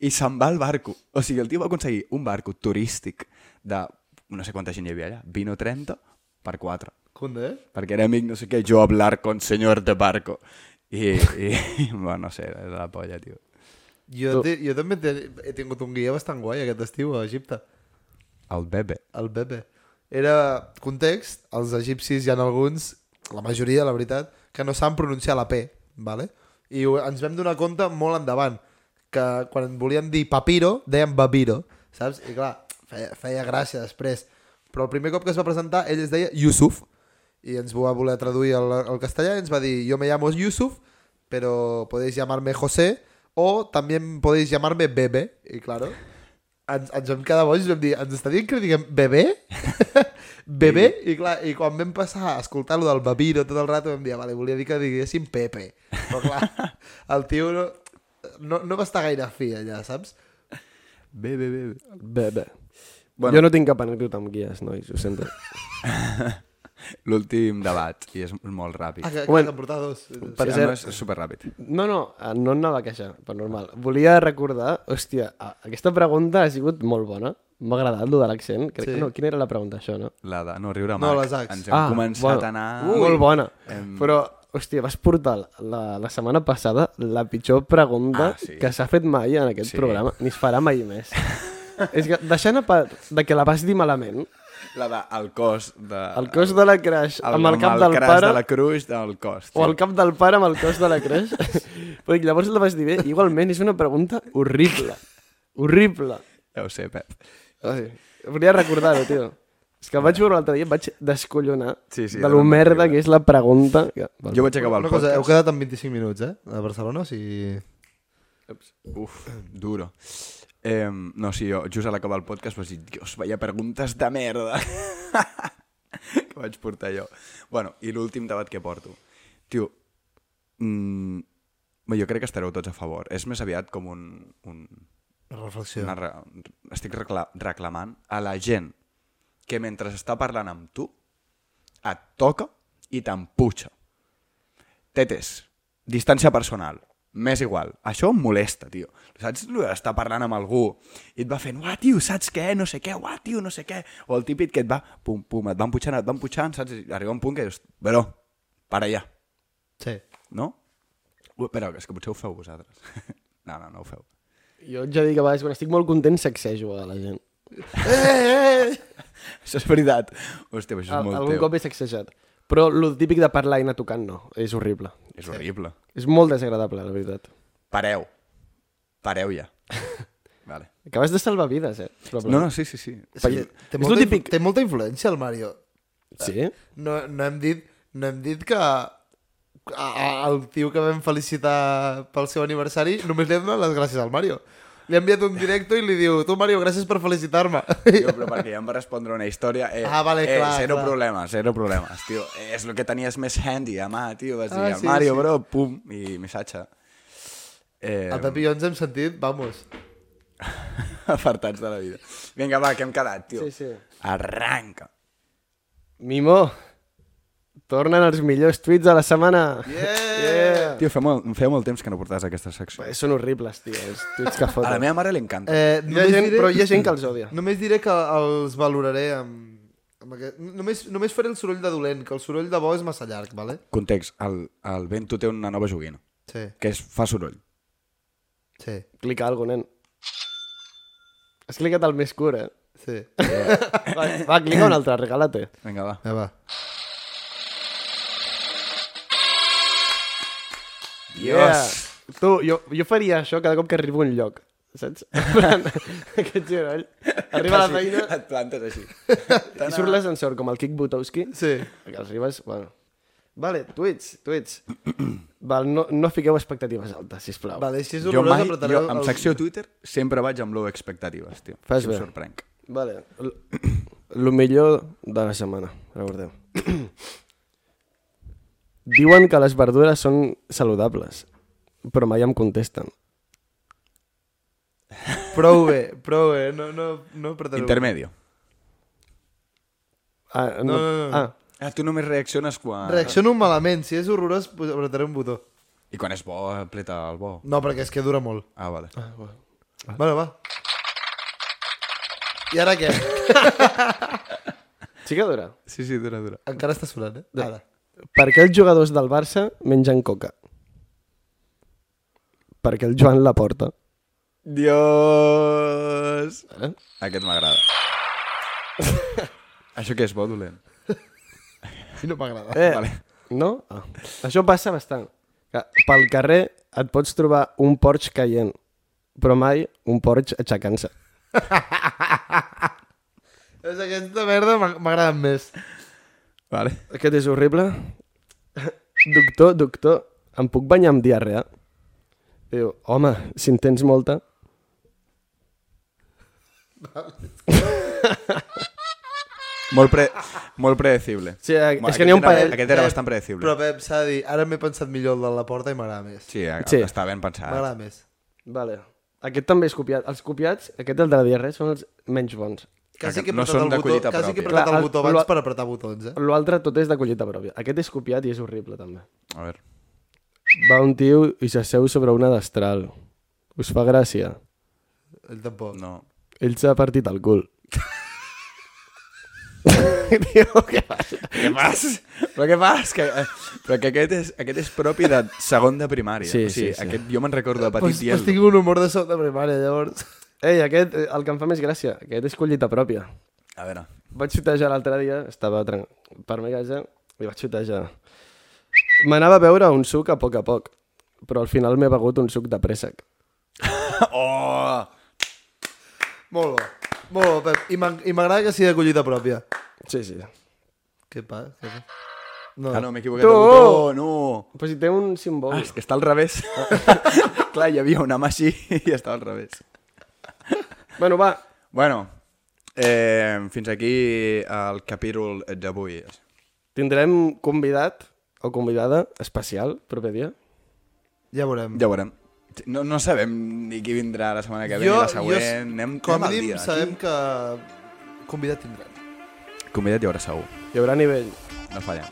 Speaker 5: i se'n va al barco. O sigui, el tio va aconseguir un barco turístic de no sé quanta gent hi havia allà, 20 o 30 per 4.
Speaker 4: Cundé?
Speaker 5: perquè era amic, no sé què, jo hablar con señor de barco. I, i bueno, no sé, era de la polla, tio.
Speaker 4: Jo, te, jo també te, he tingut un guia bastant guai aquest estiu a Egipte,
Speaker 5: El bebè.
Speaker 4: el Bebe. Era context, els egipcis hi ha alguns, la majoria, la veritat, que no saben pronunciar la P, vale? i ho- ens vam donar compte molt endavant, que quan volien dir papiro, deien babiro, saps? I clar, feia, feia gràcia després. Però el primer cop que es va presentar, ell es deia Yusuf, i ens va voler traduir al, al castellà i ens va dir, jo me llamo Yusuf, pero podéis llamarme José o también podéis llamarme Bebe. I claro, ens, ens vam quedar bojos i vam dir, ens està dient que li diguem Bebé? Bebé? I clar, i quan vam passar a escoltar-lo del Babiro tot el rato vam dir, "Ah, vale, volia dir que diguéssim Pepe. Però clar, el tio no, no, no va estar gaire fi allà, saps?
Speaker 5: Bebè, bebè.
Speaker 1: Bé, bé.
Speaker 5: Bueno.
Speaker 1: Bueno. Jo no tinc cap anècdota amb guies, nois, ho sento.
Speaker 5: L'últim debat, i és molt ràpid.
Speaker 4: Ah, que, que
Speaker 1: Bueno,
Speaker 4: t'han portat dos.
Speaker 5: Per
Speaker 1: per
Speaker 5: sí,
Speaker 1: cert-
Speaker 5: cert... És superràpid.
Speaker 1: No, no, eh, no em anava a queixar, però normal. Volia recordar, hòstia, a- aquesta pregunta ha sigut molt bona. M'ha agradat, allò de l'accent. Crec sí.
Speaker 4: Sí.
Speaker 1: que no, quina era la pregunta, això, no?
Speaker 5: La de... No, riure,
Speaker 4: No,
Speaker 5: Marc.
Speaker 4: les Acs.
Speaker 5: Ens hem ah, començat bueno. a anar...
Speaker 1: Ui. Molt bona. Em... Però, hòstia, vas portar la, la setmana passada la pitjor pregunta
Speaker 5: Ah, sí.
Speaker 1: que s'ha fet mai en aquest
Speaker 5: Sí.
Speaker 1: sí. programa, ni es farà mai més. És que, deixant a part de que la vas dir malament,
Speaker 5: La de... El cos de...
Speaker 1: el cos de la crush
Speaker 5: el-
Speaker 1: amb el cap
Speaker 5: el
Speaker 1: del
Speaker 5: cras
Speaker 1: pare...
Speaker 5: de la cruix del cos.
Speaker 1: O el cap del pare amb el cos de la creix. Perquè llavors la vas dir bé. Igualment, és una pregunta horrible. Horrible.
Speaker 5: Ja ho sé, Pep.
Speaker 1: Ai, volia recordar-ho, tio. És que vaig veure l'altre dia, em vaig descollonar
Speaker 5: Sí, sí,
Speaker 1: de
Speaker 5: era
Speaker 1: lo
Speaker 5: una
Speaker 1: merda
Speaker 5: horrible.
Speaker 1: que és la pregunta. Que...
Speaker 5: Jo vaig acabar el
Speaker 4: Una cosa, heu
Speaker 5: podcast.
Speaker 4: quedat en 25 minuts, eh? A Barcelona, o sigui...
Speaker 5: Uf, duro. Eh, no, sí, jo just a l'acabar el podcast vaig dir, Dios, vaya preguntes de merda que vaig portar jo. Bueno, i l'últim debat que porto. Tio, mm, bé, jo crec que estareu tots a favor. És més aviat com un... un
Speaker 4: Una reflexió.
Speaker 5: una, re- estic recla reclamant a la gent que mentre està parlant amb tu et toca i t'emputxa. Tetes, distància personal, m'és igual. Això em molesta, tio. Saps lo d'estar parlant amb algú i et va fent, uah, tio, saps què? No sé què, uah, tio, no sé què. O el típic que et va, pum, pum, et van putxant, et van putxant, saps? I arriba un punt que dius, però, para allà,
Speaker 4: Sí.
Speaker 5: no? Ui, però és que potser ho feu vosaltres. no, no, no ho feu.
Speaker 1: Jo ja dic que a vegades, quan estic molt content, sacsejo a la gent.
Speaker 5: Això és veritat. Hòstia, però això és
Speaker 1: Al,
Speaker 5: molt
Speaker 1: algun
Speaker 5: teu.
Speaker 1: cop he sacsejat. Però el típic de parlar i anar tocant, no. És horrible.
Speaker 5: És horrible.
Speaker 1: És molt desagradable, la veritat.
Speaker 5: Pareu. Pareu ja. vale.
Speaker 1: Acabes de salvar vides, eh?
Speaker 5: No, no, sí, sí, sí.
Speaker 4: Sí,
Speaker 1: Per-
Speaker 4: té,
Speaker 1: és lo
Speaker 4: molta,
Speaker 1: típic.
Speaker 4: típic... té molta influència el Mario.
Speaker 1: Sí?
Speaker 4: No, no, hem, dit, no hem dit que a, a, el tio que vam felicitar pel seu aniversari només li hem donat les gràcies al Mario. Li ha enviat un directo i li diu tu Mario, gràcies per felicitar-me.
Speaker 5: Jo, però perquè ja em va respondre una història... Eh,
Speaker 4: Ah, vale,
Speaker 5: eh,
Speaker 4: clar,
Speaker 5: Zero
Speaker 4: clar.
Speaker 5: problemes, zero problemes, tio. Eh, és el que tenies més handy, ama, tio. Vas dir,
Speaker 4: Ah, sí,
Speaker 5: Mario,
Speaker 4: sí. Ah,
Speaker 5: bro, pum, i missatge. Eh,
Speaker 4: El Pepi i jo ens hem sentit, vamos.
Speaker 5: Apartats de la vida. Vinga, va, que hem quedat, tio.
Speaker 1: Sí, sí.
Speaker 5: Arranca.
Speaker 1: Mimo, tornen els millors tuits de la setmana.
Speaker 4: Yeah!
Speaker 5: Tio, fa molt, feia molt temps que no portaves aquesta secció.
Speaker 1: Bé, Són horribles, tio, els tuits que
Speaker 5: A la
Speaker 1: foten.
Speaker 5: meva mare li encanta.
Speaker 4: Eh,
Speaker 1: Hi ha gent, però hi ha gent que els odia.
Speaker 4: Només diré que els valoraré amb... amb aquest... només, només faré el soroll de dolent, que el soroll de bo és massa llarg, vale?
Speaker 5: Context, el, el Bento té una nova joguina,
Speaker 4: Sí,
Speaker 5: que és, fa soroll.
Speaker 4: sí,
Speaker 1: Clica alguna nen. Has clicat el més curt, eh?
Speaker 4: sí.
Speaker 1: Va, va clica un altre, regala-te.
Speaker 5: Vinga, va.
Speaker 4: Ja va.
Speaker 1: Tu, jo, jo faria això cada cop que arribo a un lloc, saps? En plan, Aquest genoll. Arriba a la feina
Speaker 5: Et plantes així.
Speaker 1: i surt l'ascensor, com el Kik Butowski.
Speaker 4: Sí.
Speaker 1: Que arribes, bueno... Vale, tuits, tuits. Val, no, no fiqueu expectatives altes, sisplau.
Speaker 4: Vale, si és
Speaker 5: Jo
Speaker 4: horrorós,
Speaker 5: mai,
Speaker 4: apretaré
Speaker 5: jo, amb
Speaker 4: el-
Speaker 5: secció Twitter, sempre vaig amb low expectatives, tio.
Speaker 1: Fas
Speaker 5: Si em
Speaker 1: bé.
Speaker 5: sorprenc.
Speaker 1: Vale. L- Lo millor de la setmana, recordeu. Diuen que les verdures són saludables, però mai em contesten.
Speaker 4: Prou bé, prou bé, no, no, no apretaré.
Speaker 5: Intermedio.
Speaker 1: Ah, no,
Speaker 4: No, no, no.
Speaker 1: Ah,
Speaker 5: Ah, tu només reacciones quan...
Speaker 4: Reacciono malament, si és horrorós pues, apretaré un botó.
Speaker 5: I quan és bo, pleta el bo.
Speaker 4: No, perquè és que dura molt.
Speaker 5: Ah, vale. Ah.
Speaker 4: Bueno, va. I ara què?
Speaker 1: Sí que dura.
Speaker 5: Sí, sí, dura, dura.
Speaker 4: Encara està sonant, eh? Ara.
Speaker 1: Per què els jugadors del Barça mengen coca? Perquè el Joan la porta.
Speaker 5: Dios!
Speaker 1: Eh?
Speaker 5: Aquest m'agrada. Això què és bo, dolent?
Speaker 4: I no m'agrada.
Speaker 1: Eh,
Speaker 5: Vale.
Speaker 1: No? Ah. Això passa bastant. Que pel carrer et pots trobar un porx caient, però mai un porx aixecant-se.
Speaker 4: És aquesta merda m'ag- m'agraden més.
Speaker 5: Vale.
Speaker 1: Aquest és horrible. Doctor, doctor, em puc banyar amb diarrea? Diu, home, si en tens molta...
Speaker 5: Molt, pre... Molt predecible.
Speaker 1: Sí, a-
Speaker 5: Bueno,
Speaker 1: és que n'hi ha un
Speaker 5: aquest era-
Speaker 1: parell-
Speaker 5: Aquest era
Speaker 4: Pep,
Speaker 5: bastant predecible.
Speaker 4: Però Pep, s'ha de dir, ara m'he pensat millor el de la porta i m'agrada més.
Speaker 5: Sí, Ah. a...
Speaker 1: Sí.
Speaker 5: sí, està ben pensat.
Speaker 4: M'agrada més.
Speaker 1: Vale. Aquest també és copiat. Els copiats, aquest el de la diarrea, són els menys bons.
Speaker 4: Quasi que he
Speaker 5: No
Speaker 4: apretat
Speaker 5: són
Speaker 4: el
Speaker 5: de
Speaker 4: botó,
Speaker 5: collita
Speaker 4: quasi que he
Speaker 5: pròpia.
Speaker 4: apretat
Speaker 1: Clar,
Speaker 4: el
Speaker 1: el-
Speaker 4: botó abans
Speaker 1: lo-
Speaker 4: per apretar botons, eh?
Speaker 1: L'altre tot és de collita pròpia. Aquest és copiat i és horrible, també.
Speaker 5: A veure.
Speaker 1: Va un tio i s'asseu sobre una destral. Us fa gràcia.
Speaker 4: Ell tampoc.
Speaker 5: No.
Speaker 1: Ell s'ha partit el cul. Tio, què passa?
Speaker 5: Què fas? Però què fas? Que... eh, Però que aquest és, aquest és propi de segon de primària.
Speaker 1: Sí,
Speaker 5: o sigui,
Speaker 1: sí, sí.
Speaker 5: Aquest jo me'n recordo de petit
Speaker 4: Pues,
Speaker 5: pues, dient
Speaker 4: pues tinc un humor de sota primària, llavors.
Speaker 1: Ei, aquest, eh, el que em fa més gràcia, aquest és collita pròpia.
Speaker 5: A veure.
Speaker 1: Vaig xutejar l'altre dia, estava tran- per mi casa, i vaig xutejar. M'anava a beure un suc a poc a poc, però al final m'he begut un suc de préssec.
Speaker 5: Oh!
Speaker 4: Molt bo. Molt bo, Pep. I m'ag- i m'agrada que sigui de collita pròpia.
Speaker 1: Sí, sí.
Speaker 4: Què passa? Què passa?
Speaker 5: Ah, no, m'he equivocat.
Speaker 1: Tu!
Speaker 5: de botó, no!
Speaker 1: Però si té un simbol...
Speaker 5: Ah, és que està al revés. Clar, hi havia una mà així i estava al revés.
Speaker 1: Bueno, va,
Speaker 5: Bueno, eh, fins aquí el capítol d'avui.
Speaker 1: tindrem convidat o convidada especial proper dia.
Speaker 4: Ja veurem.
Speaker 5: Ja ho veurem. No, no sabem ni qui vindrà la setmana que ve ni la següent. anem,
Speaker 4: com a
Speaker 5: anem al
Speaker 4: mínim
Speaker 5: dia.
Speaker 4: sabem que convidat tindrem.
Speaker 5: Convidat hi haurà segur.
Speaker 1: Hi haurà nivell.
Speaker 5: No fallem.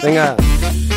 Speaker 5: Vinga.
Speaker 1: Vinga.